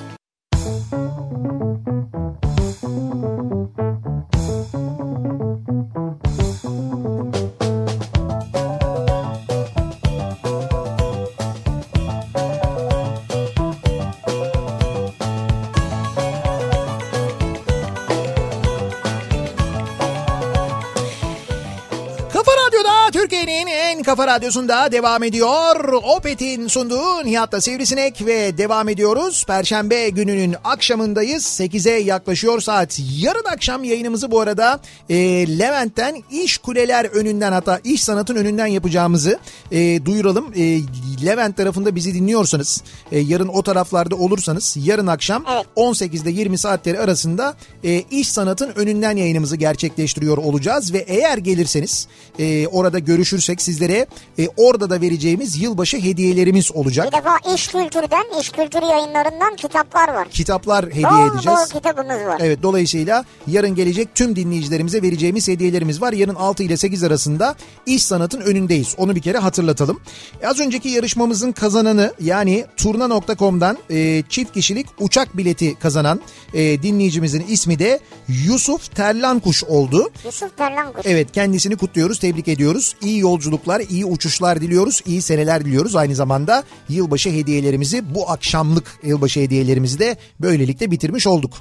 E: Kafa Radyo'da Türkiye'nin en kafa radyosunda devam ediyor. Opet'in sunduğu Nihat'la Sivrisinek ve devam ediyoruz. Perşembe gününün akşamındayız. 8'e yaklaşıyor saat. Yarın akşam yayınımızı bu arada e, Levent'ten iş kuleler önünden hatta iş sanatın önünden yapacağımızı e, duyuralım. E, Levent tarafında bizi dinliyorsanız e, yarın o taraflarda olursanız yarın akşam
B: Evet.
E: 18'de 20 saatleri arasında e, iş sanatın önünden yayınımızı gerçekleştiriyor olacağız ve eğer gelirseniz e, orada görüşürsek sizlere e, orada da vereceğimiz yılbaşı hediyelerimiz olacak.
B: Bir defa iş kültürden, iş kültürü yayınlarından kitaplar var.
A: Kitaplar Şey hediye
B: Dolu
A: edeceğiz.
B: dolu kitabımız var.
A: Evet dolayısıyla yarın gelecek tüm dinleyicilerimize vereceğimiz hediyelerimiz var. Yarın 6 ile 8 arasında iş sanatın önündeyiz. Onu bir kere hatırlatalım. E, Az önceki yarışmamızın kazananı yani turna.com'dan e, çift kişilik uçak bileti kazanan e, dinleyicimizin ismi de Yusuf Terlankuş oldu.
B: Yusuf Terlankuş.
A: Evet kendisini kutluyoruz, tebrik ediyoruz. İyi yolculuklar, iyi uçuşlar diliyoruz, iyi seneler diliyoruz. Aynı zamanda yılbaşı hediyelerimizi bu akşamlık yılbaşı hediyelerimizi de böylelikle bitirmiş olduk.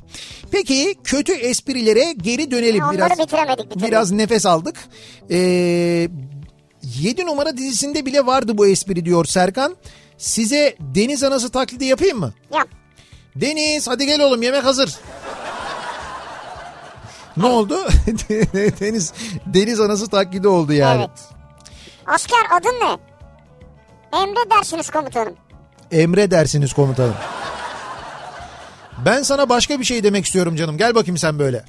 A: Peki kötü esprilere geri dönelim
B: Onları
A: biraz.
B: bitiremedik bir türlü.
A: Biraz nefes aldık. Ee, 7 numara dizisinde bile vardı bu espri diyor Serkan. Size deniz anası taklidi yapayım mı?
B: Yap.
A: Deniz hadi gel oğlum yemek hazır. ne oldu? deniz deniz anası taklidi oldu yani.
B: Evet. Asker adın ne? Emre dersiniz komutanım.
A: Emre dersiniz komutanım. Ben sana başka bir şey demek istiyorum canım. Gel bakayım sen böyle.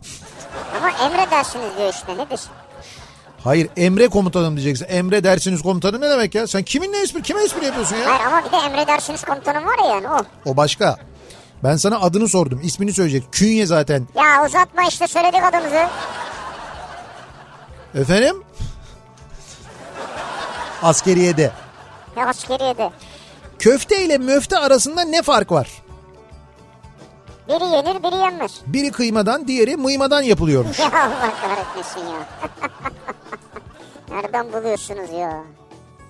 B: Ama Emre dersiniz diyor işte nedir?
A: Hayır Emre komutanım diyeceksin. Emre dersiniz komutanım ne demek ya? Sen kiminle espri kime espri yapıyorsun ya?
B: Hayır ama bir de Emre dersiniz komutanım var ya yani oh. o.
A: O başka. Ben sana adını sordum. ismini söyleyecek. Künye zaten.
B: Ya uzatma işte söyledik adımızı.
A: Efendim? Askeriyede.
B: Ya askeriye de.
A: Köfte ile möfte arasında ne fark var?
B: Biri yenir biri yenmez.
A: Biri kıymadan diğeri mıymadan yapılıyormuş.
B: Ya Allah kahretmesin ya. Nereden buluyorsunuz ya?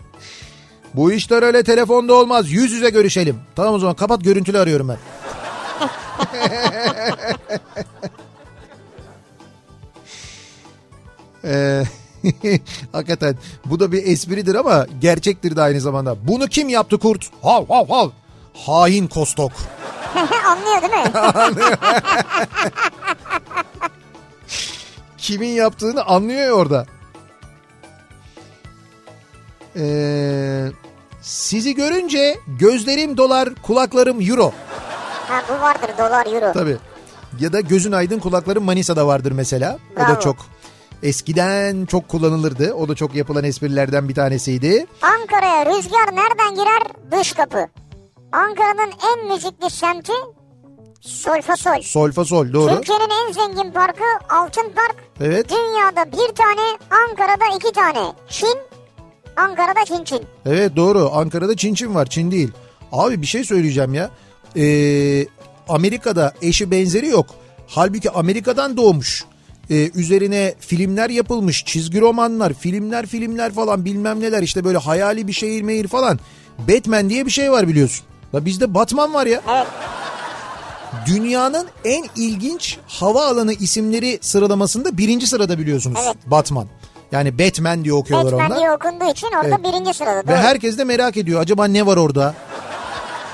A: Bu işler öyle telefonda olmaz. Yüz yüze görüşelim. Tamam o zaman kapat görüntülü arıyorum ben. Ee, hakikaten bu da bir espridir ama gerçektir de aynı zamanda. Bunu kim yaptı kurt? Hav hav hav. Hain kostok.
B: Anlıyor değil mi?
A: Kimin yaptığını anlıyor ya orada. Ee, Sizi görünce gözlerim dolar, kulaklarım euro.
B: Ha bu vardır dolar euro.
A: Tabii. Ya da gözün aydın kulakların Manisa'da vardır mesela. O da
B: Bravo.
A: çok eskiden çok kullanılırdı. O da çok yapılan esprilerden bir tanesiydi.
B: Ankara'ya rüzgar nereden girer? Dış kapı. Ankara'nın en müzikli semti Solfa Sol.
A: Solfa sol doğru.
B: Türkiye'nin en zengin parkı Altın Park.
A: Evet.
B: Dünyada bir tane, Ankara'da iki tane. Çin, Ankara'da Çin Çin.
A: Evet doğru. Ankara'da Çin Çin var. Çin değil. Abi bir şey söyleyeceğim ya. Ee, Amerika'da eşi benzeri yok. Halbuki Amerika'dan doğmuş. Ee, üzerine filmler yapılmış. Çizgi romanlar, filmler filmler falan bilmem neler. işte böyle hayali bir şehir mehir falan. Batman diye bir şey var biliyorsun. La bizde Batman var ya.
B: Evet.
A: Dünyanın en ilginç hava alanı isimleri sıralamasında birinci sırada biliyorsunuz.
B: Evet.
A: Batman. Yani Batman diye okuyorlar onlar.
B: Batman diye okunduğu için orada
A: Evet.
B: birinci sırada.
A: Ve
B: Doğru.
A: herkes de merak ediyor acaba ne var orada?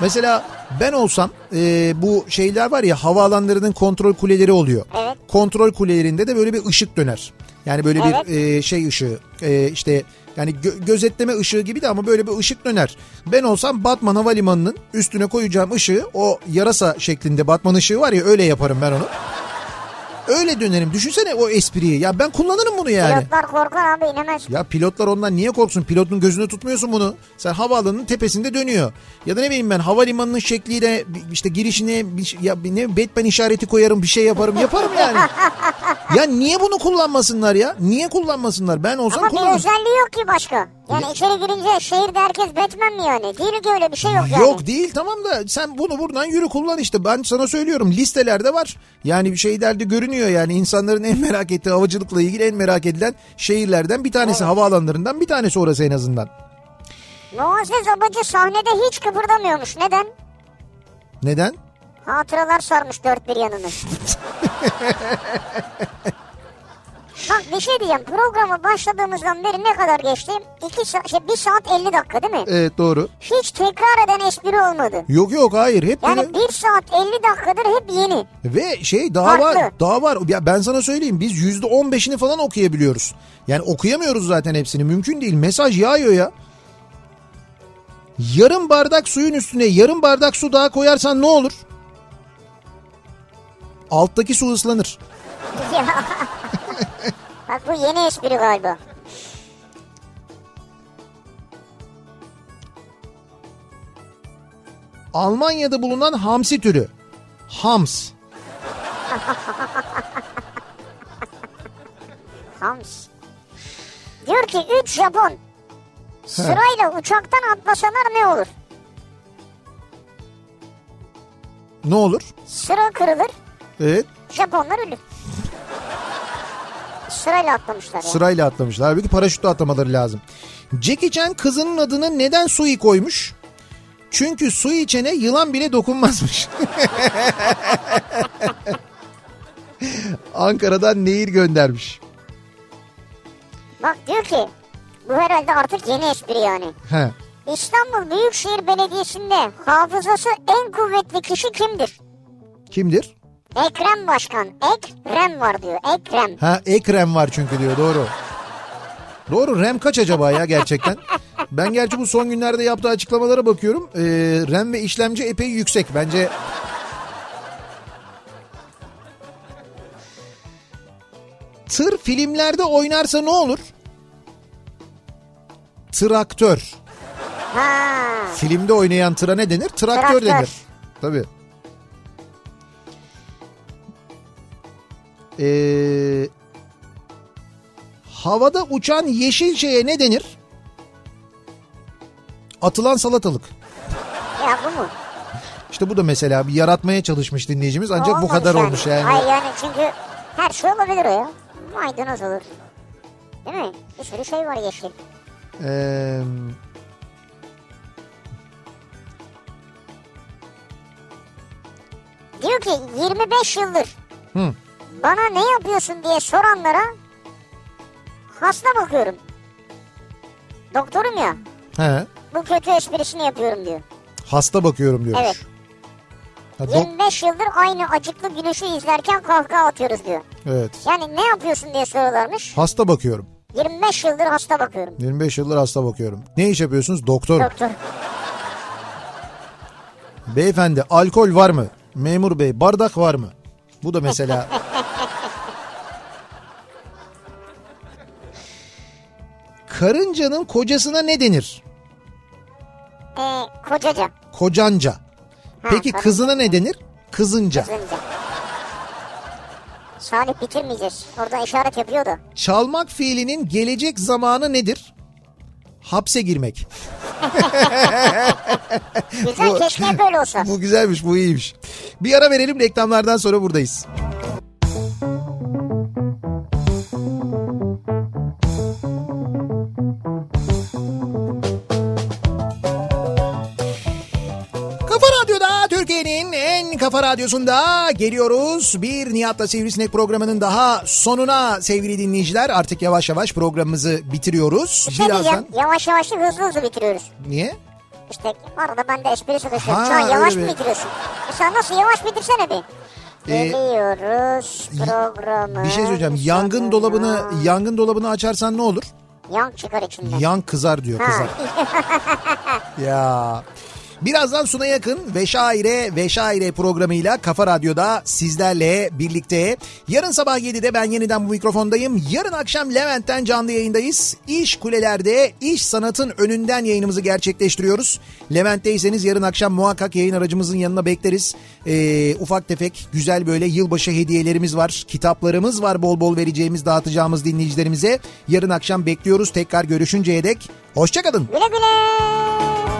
A: Mesela ben olsam e, bu şeyler var ya havaalanlarının kontrol kuleleri oluyor.
B: Evet.
A: Kontrol kulelerinde de böyle bir ışık döner. Yani böyle
B: Evet.
A: bir e, şey ışığı e, işte yani gö- gözetleme ışığı gibi de ama böyle bir ışık döner. Ben olsam Batman Havalimanı'nın üstüne koyacağım ışığı o yarasa şeklinde Batman ışığı var ya öyle yaparım ben onu. Öyle dönerim. Düşünsene o espriyi. Ya ben kullanırım bunu yani.
B: Pilotlar korkar abi inemez.
A: Ya pilotlar ondan niye korksun? Pilotun gözünü tutmuyorsun bunu. Sen havaalanının tepesinde dönüyor. Ya da ne bileyim ben havalimanının şekliyle bi- işte girişine bir, şey- ya bir ne Batman işareti koyarım bir şey yaparım. Yaparım yani. ya niye bunu kullanmasınlar ya? Niye kullanmasınlar? Ben olsam
B: Ama bir
A: kullanırım.
B: özelliği yok ki başka. Yani içeri girince şehirde herkes Batman mi yani? Değil ki öyle bir şey yok yani.
A: Yok değil tamam da sen bunu buradan yürü kullan işte ben sana söylüyorum listelerde var yani bir şeylerde görünüyor yani insanların en merak ettiği havacılıkla ilgili en merak edilen şehirlerden bir tanesi havaalanlarından bir tanesi orası en azından.
B: Muazzez Abacı sahnede hiç kıpırdamıyormuş. Neden?
A: Neden?
B: Hatıralar sarmış dört bir yanını. Bak bir şey diyeceğim. Programa başladığımızdan beri ne kadar geçti? İki saat, şey, bir saat 50 dakika değil mi?
A: Evet doğru.
B: Hiç tekrar eden espri olmadı.
A: Yok yok hayır hep böyle.
B: Yani bir saat 50 dakikadır hep yeni.
A: Ve şey daha var
B: Farklı.
A: daha var ya ben sana söyleyeyim biz yüzde on beşini falan okuyabiliyoruz. Yani okuyamıyoruz zaten hepsini mümkün değil mesaj yağıyor ya. Yarım bardak suyun üstüne yarım bardak su daha koyarsan ne olur? Alttaki su ıslanır.
B: Ya. Bak bu yeni espri galiba.
A: Almanya'da bulunan hamsi türü. Hams.
B: Hams. Diyor ki 3 Japon sırayla uçaktan atlasalar ne olur?
A: Ne olur?
B: Sıra kırılır,
A: Evet
B: Japonlar ölür. Sırayla atlamışlar yani.
A: sırayla atlamışlar. Halbuki paraşütle atlamaları lazım. Jackie Chan kızının adını neden Sui koymuş? Çünkü su içene yılan bile dokunmazmış. Ankara'dan nehir göndermiş.
B: Bak diyor ki bu herhalde artık yeni espri yani.
A: He.
B: İstanbul Büyükşehir Belediyesi'nde hafızası en kuvvetli kişi kimdir?
A: Kimdir?
B: Ekrem Başkan. Ekrem var diyor. Ekrem.
A: Ha Ekrem var çünkü diyor doğru. Doğru Rem kaç acaba ya gerçekten? Ben gerçi bu son günlerde yaptığı açıklamalara bakıyorum. Ee, Rem ve işlemci epey yüksek. Bence Tır filmlerde oynarsa ne olur? Traktör.
B: Ha.
A: Filmde oynayan tıra ne denir? Traktör
B: Traktör.
A: denir. Tabii. Ee, havada uçan yeşil şeye ne denir? Atılan salatalık.
B: Ya bu mu?
A: İşte bu da mesela bir yaratmaya çalışmış dinleyicimiz ancak bu
B: Olmamış
A: kadar olmuş yani.
B: Hayır yani çünkü her şey olabilir o ya. Maydanoz olur. Değil mi? Bir sürü şey var yeşil.
A: Ee,
B: Diyor ki 25 yıldır
A: Hı.
B: bana ne yapıyorsun diye soranlara hasta bakıyorum. Doktorum ya
A: he,
B: bu kötü esprisini yapıyorum diyor.
A: hasta bakıyorum diyormuş.
B: Evet.
A: Ha, dok-
B: 25 yıldır aynı acıklı güneşi izlerken kahkaha atıyoruz diyor.
A: evet.
B: Yani ne yapıyorsun diye soruyorlarmış.
A: Hasta bakıyorum.
B: 25 yıldır hasta bakıyorum.
A: 25 yıldır hasta bakıyorum. Ne iş yapıyorsunuz? Doktor.
B: Doktor.
A: Beyefendi alkol var mı? Memur bey bardak var mı? Bu da mesela... Karıncanın kocasına ne denir?
B: Ee, kocaca.
A: Kocanca. Peki
B: karınca.
A: kızına ne denir? Kızınca.
B: Kızınca. Salih bitirmeyeceğiz. Orada işaret yapıyordu.
A: Çalmak fiilinin gelecek zamanı nedir? Hapse girmek.
B: Güzel keşke hep böyle olsa.
A: Bu güzelmiş, bu iyiymiş. Bir ara verelim reklamlardan sonra buradayız.
F: Kafa Radyo'da Türkiye'nin en kafa radyosunda geliyoruz. Bir Nihat'la Sivrisinek programının daha sonuna sevgili dinleyiciler. Artık yavaş yavaş programımızı bitiriyoruz.
B: Bir şey diyeceğim. Yavaş yavaş değil, hızlı hızlı bitiriyoruz.
A: Niye?
B: İşte arada ben de espri çalışıyorum.
A: Ha,
B: Şu an yavaş
A: öyle
B: mı
A: bir-
B: bitiriyorsun? E sen nasıl yavaş bitirsene bir.
A: Ee,
B: Geliyoruz programı.
A: Bir şey söyleyeceğim.
B: Ee,
A: Yangın dolabını yangın dolabını açarsan ne olur?
B: Yang çıkar içinden.
A: Yan kızar diyor kızar. ya. Birazdan Suna Yakın ve Şaire ve Şaire programıyla Kafa Radyo'da sizlerle birlikte. Yarın sabah 7'de ben yeniden bu mikrofondayım. Yarın akşam Levent'ten canlı yayındayız. İş Kuleler'de İş Sanat'ın önünden yayınımızı gerçekleştiriyoruz. Levent'teyseniz yarın akşam muhakkak yayın aracımızın yanına bekleriz. Ee, ufak tefek güzel böyle yılbaşı hediyelerimiz var. Kitaplarımız var bol bol vereceğimiz dağıtacağımız dinleyicilerimize. Yarın akşam bekliyoruz tekrar görüşünceye dek. Hoşçakalın.
B: Güle güle.